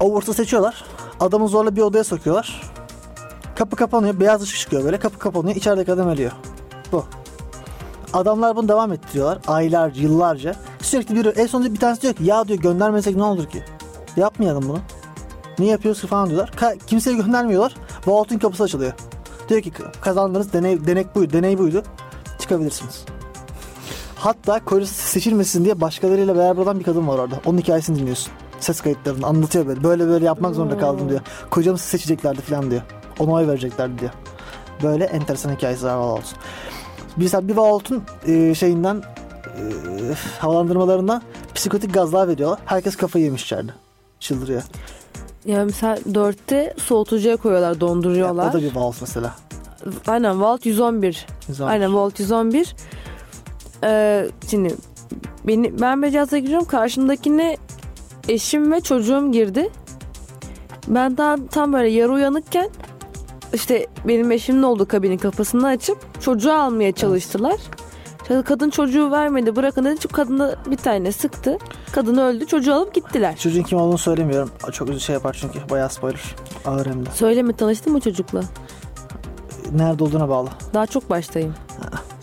Overseer'ı seçiyorlar. Adamı zorla bir odaya sokuyorlar. Kapı kapanıyor. Beyaz ışık çıkıyor böyle. Kapı kapanıyor. İçerideki adam ölüyor. Bu. Adamlar bunu devam ettiriyorlar. Aylar, yıllarca. Sürekli biri en sonunda bir tanesi diyor ki ya diyor göndermesek ne olur ki? Yapmayalım bunu. Niye yapıyoruz ki falan diyorlar. Ka- kimseye göndermiyorlar. Vault'un kapısı açılıyor. Diyor ki kazandınız deney, denek buydu, deney buydu. Çıkabilirsiniz. Hatta korusu seçilmesin diye başkalarıyla beraber olan bir kadın var orada. Onun hikayesini dinliyorsun. Ses kayıtlarını anlatıyor böyle. Böyle böyle yapmak zorunda kaldım diyor. Kocamı siz seçeceklerdi falan diyor. Ona oy vereceklerdi diyor. Böyle enteresan hikayesi var Vault'un. Mesela bir Vault'un e, şeyinden e, havalandırmalarına psikotik gazlar veriyorlar. Herkes kafayı yemiş içeride. Çıldırıyor.
Yani mesela 4'te soğutucuya koyuyorlar, donduruyorlar.
O da bir Vault mesela.
Aynen Vault 111.
Güzel.
Aynen Volt 111. Ee, şimdi beni, ben becaza giriyorum. Karşımdakine eşim ve çocuğum girdi. Ben daha tam böyle yarı uyanıkken işte benim eşimin olduğu kabinin kapısını açıp çocuğu almaya çalıştılar. İşte Kadın çocuğu vermedi bırakın dedi. Çünkü kadına bir tane sıktı. Kadın öldü çocuğu alıp gittiler.
Çocuğun kim olduğunu söylemiyorum. Çok üzücü şey yapar çünkü. Bayağı spoiler. Ağır hem de.
Söyleme tanıştın mı çocukla?
Nerede olduğuna bağlı.
Daha çok baştayım.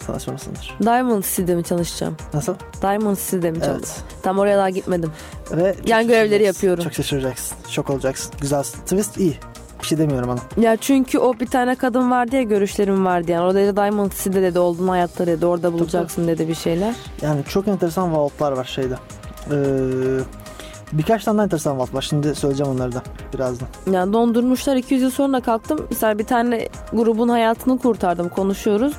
Sana sormasındır.
Diamond City'de mi çalışacağım?
Nasıl?
Diamond City'de mi
Evet.
çalışacağım? Tam oraya daha gitmedim.
Ve
Yan
çok
görevleri
şaşıracaksın.
yapıyorum.
Çok şaşıracaksın. Şok olacaksın. Güzel. Twist iyi. Bir şey demiyorum ona.
Ya çünkü o bir tane kadın vardı ya görüşlerim vardı yani. O dedi Diamond City'de dedi oldun hayatta dedi. Orada bulacaksın dedi bir şeyler.
Yani çok enteresan vaultlar var şeyde. Ee, birkaç tane daha enteresan vault var. Şimdi söyleyeceğim onları da birazdan.
Yani dondurmuşlar 200 yıl sonra kalktım. Mesela bir tane grubun hayatını kurtardım konuşuyoruz.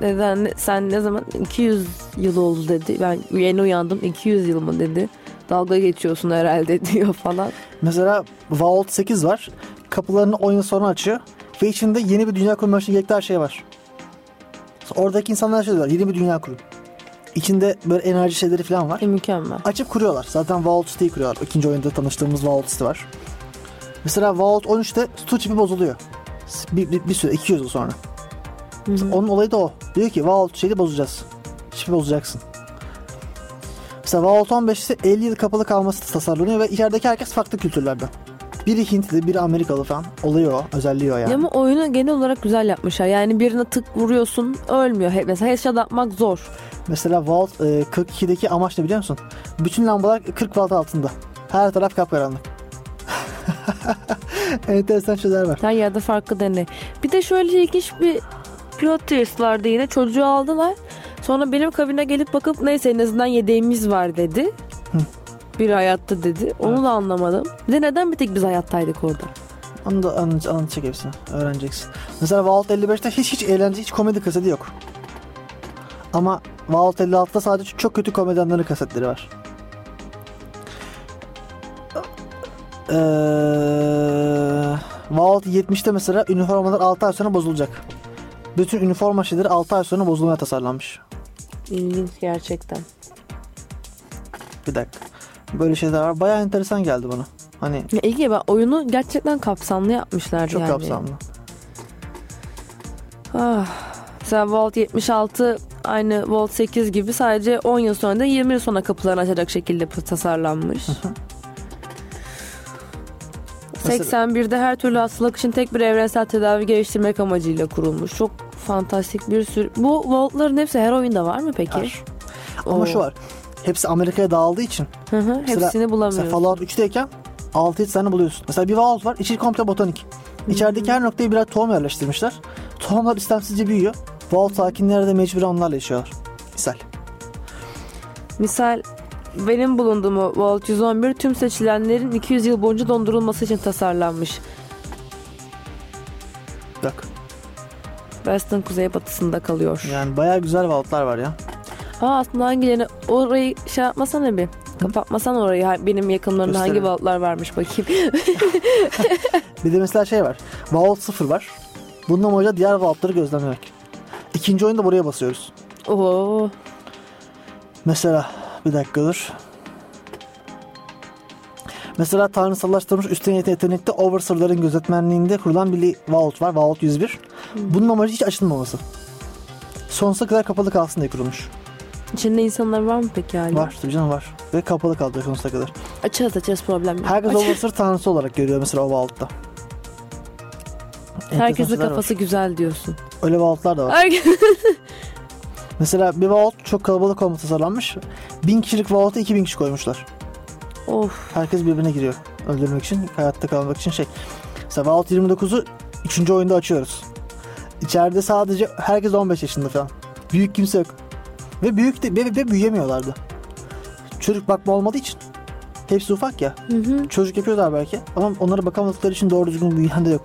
Neden sen ne zaman 200 yıl oldu dedi. Ben yeni uyandım 200 yıl mı dedi. Dalga geçiyorsun herhalde diyor falan.
Mesela Vault 8 var. Kapılarını 10 yıl sonra açıyor. Ve içinde yeni bir dünya kurmak için gerekli her şey var. Oradaki insanlar şey diyorlar. Yeni bir dünya kurun. İçinde böyle enerji şeyleri falan var.
E, mükemmel.
Açıp kuruyorlar. Zaten Vault City'yi kuruyorlar. İkinci oyunda tanıştığımız Vault City var. Mesela Vault 13'te su çipi bozuluyor. Bir, bir, bir süre, 200 yıl sonra. Onun olayı da o. Diyor ki Vault şeyi bozacağız. Çipi bozacaksın. Mesela Vault 15 ise 50 yıl kapalı kalması tasarlanıyor ve içerideki herkes farklı kültürlerden. Biri Hintli, biri Amerikalı falan oluyor, o, özelliği o yani.
Ama oyunu genel olarak güzel yapmışlar. Yani birine tık vuruyorsun ölmüyor. He- Mesela headshot atmak zor.
Mesela Vault e, 42'deki amaç ne biliyor musun? Bütün lambalar 40 volt altında. Her taraf kapkaranlık. Enteresan şeyler var.
Her yerde farklı deney. Bir de şöyle ilginç bir plot twist vardı yine. Çocuğu aldılar. Sonra benim kabine gelip bakıp neyse en azından yedeğimiz var dedi. Bir hayatta dedi. Onu da anlamadım. Bir de neden bir tek biz hayattaydık orada?
Onu da anlat- anlatacak hepsini. Öğreneceksin. Mesela Vault 55'te hiç hiç eğlence, hiç komedi kaseti yok. Ama Vault 56'da sadece çok kötü komedyenlerin kasetleri var. Ee, Vault 70'te Ee, mesela üniformalar 6 ay sonra bozulacak. Bütün üniforma şeyleri 6 ay sonra bozulmaya tasarlanmış.
İlginç gerçekten.
Bir dakika. Böyle şeyler var. Bayağı enteresan geldi bana. Hani
Ya İlgi ben oyunu gerçekten kapsamlı yapmışlar
çok
yani.
kapsamlı.
Ah. Mesela Vault 76 aynı Vault 8 gibi sadece 10 yıl sonra da 20 yıl sonra kapılarını açacak şekilde p- tasarlanmış. 81'de her türlü hastalık için tek bir evrensel tedavi geliştirmek amacıyla kurulmuş. Çok fantastik bir sürü. Bu Vault'ların hepsi her oyunda var mı peki?
Var. Ama
Oo.
şu var. Hepsi Amerika'ya dağıldığı için
Hı hı,
Mesela-
hepsini bulamıyoruz.
Mesela Fallout 3'teyken 6-7 tane buluyorsun. Mesela bir vault var. içi komple botanik. İçerideki her noktaya birer tohum yerleştirmişler. Tohumlar istemsizce büyüyor. Vault sakinleri de mecbur onlarla yaşıyorlar. Misal.
Misal benim bulunduğum o Vault 111 tüm seçilenlerin 200 yıl boyunca dondurulması için tasarlanmış.
Bak.
West'in kuzeybatısında kalıyor.
Yani bayağı güzel vaultlar var ya.
Aa aslında hangilerini orayı şey yapmasana bir. Kapatmasan orayı ha- benim yakınlarımda hangi
Gösterelim.
balıklar varmış bakayım.
Bir de mesela şey var. Vault 0 var. Bunun amacı diğer vaultları gözlemlemek. İkinci oyunda buraya basıyoruz.
Oo.
Mesela bir dakika dur. Mesela tanrısallaştırılmış üstün yete- yetenekte Overseer'ların gözetmenliğinde kurulan bir li- vault var. Vault 101.
Hmm.
Bunun amacı hiç açılmaması. Sonsuza kadar kapalı kalsın diye kurulmuş.
İçinde insanlar var mı peki hala?
Var tabii canım var. Ve kapalı kalacak sonsuza kadar.
Açarız açarız problem yok.
Herkes
Aç-
Overseer tanrısı olarak görüyor mesela o vaultta. Enteresan
Herkesin
şeyler var.
kafası güzel diyorsun.
Öyle vaultlar da var.
Herkes...
Mesela bir vault çok kalabalık olma tasarlanmış. 1000 kişilik vaulta 2000 kişi koymuşlar.
of.
Herkes birbirine giriyor. Öldürmek için, hayatta kalmak için şey. Mesela Vault 29'u 3. oyunda açıyoruz. İçeride sadece herkes 15 yaşında falan. Büyük kimse yok. Ve büyük de, ve, ve büyüyemiyorlardı. Çocuk bakma olmadığı için. Hepsi ufak ya.
Hı hı.
Çocuk yapıyorlar belki ama onlara bakamadıkları için doğru düzgün büyüyen de yok.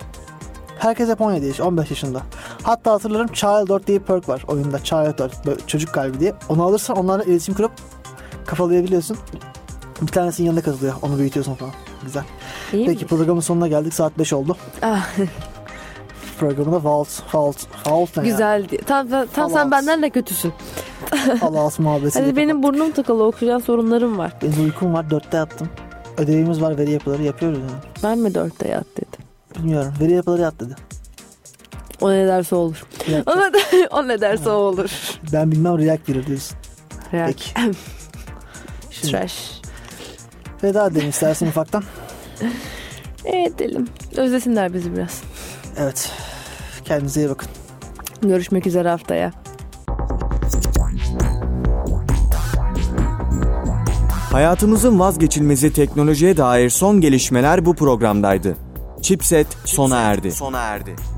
Herkes hep 17 yaş, 15 yaşında. Hatta hatırlarım Child 4 diye bir perk var oyunda. Child 4, böyle çocuk kalbi diye. Onu alırsan onlarla iletişim kurup kafalayabiliyorsun. Bir tanesinin yanında katılıyor. Onu büyütüyorsun falan. Güzel.
İyi
Peki
mi?
programın sonuna geldik. Saat 5 oldu.
Ah,
Programında Vault, Vault, Vault ne ya?
güzeldi. Tam, tam, tam
Allah'ım.
sen benden de kötüsün.
Allah'ız muhabbeti.
Hadi benim burnum tıkalı okuyacağım sorunlarım var.
Benim uykum var. 4'te yattım. Ödevimiz var. Veri yapıları yapıyoruz yani.
Ben mi dörtte yat dedim.
Bilmiyorum. Veri yapıları yat dedi.
O ne derse olur.
React-
O ne, o ne derse o olur.
Ben bilmem React girer diyorsun.
React.
Peki. Şimdi-
Trash.
Veda edelim istersen ufaktan.
Edelim. Özlesinler bizi biraz.
Evet. Kendinize iyi bakın.
Görüşmek üzere haftaya.
Hayatımızın vazgeçilmezi teknolojiye dair son gelişmeler bu programdaydı. Chipset sona erdi.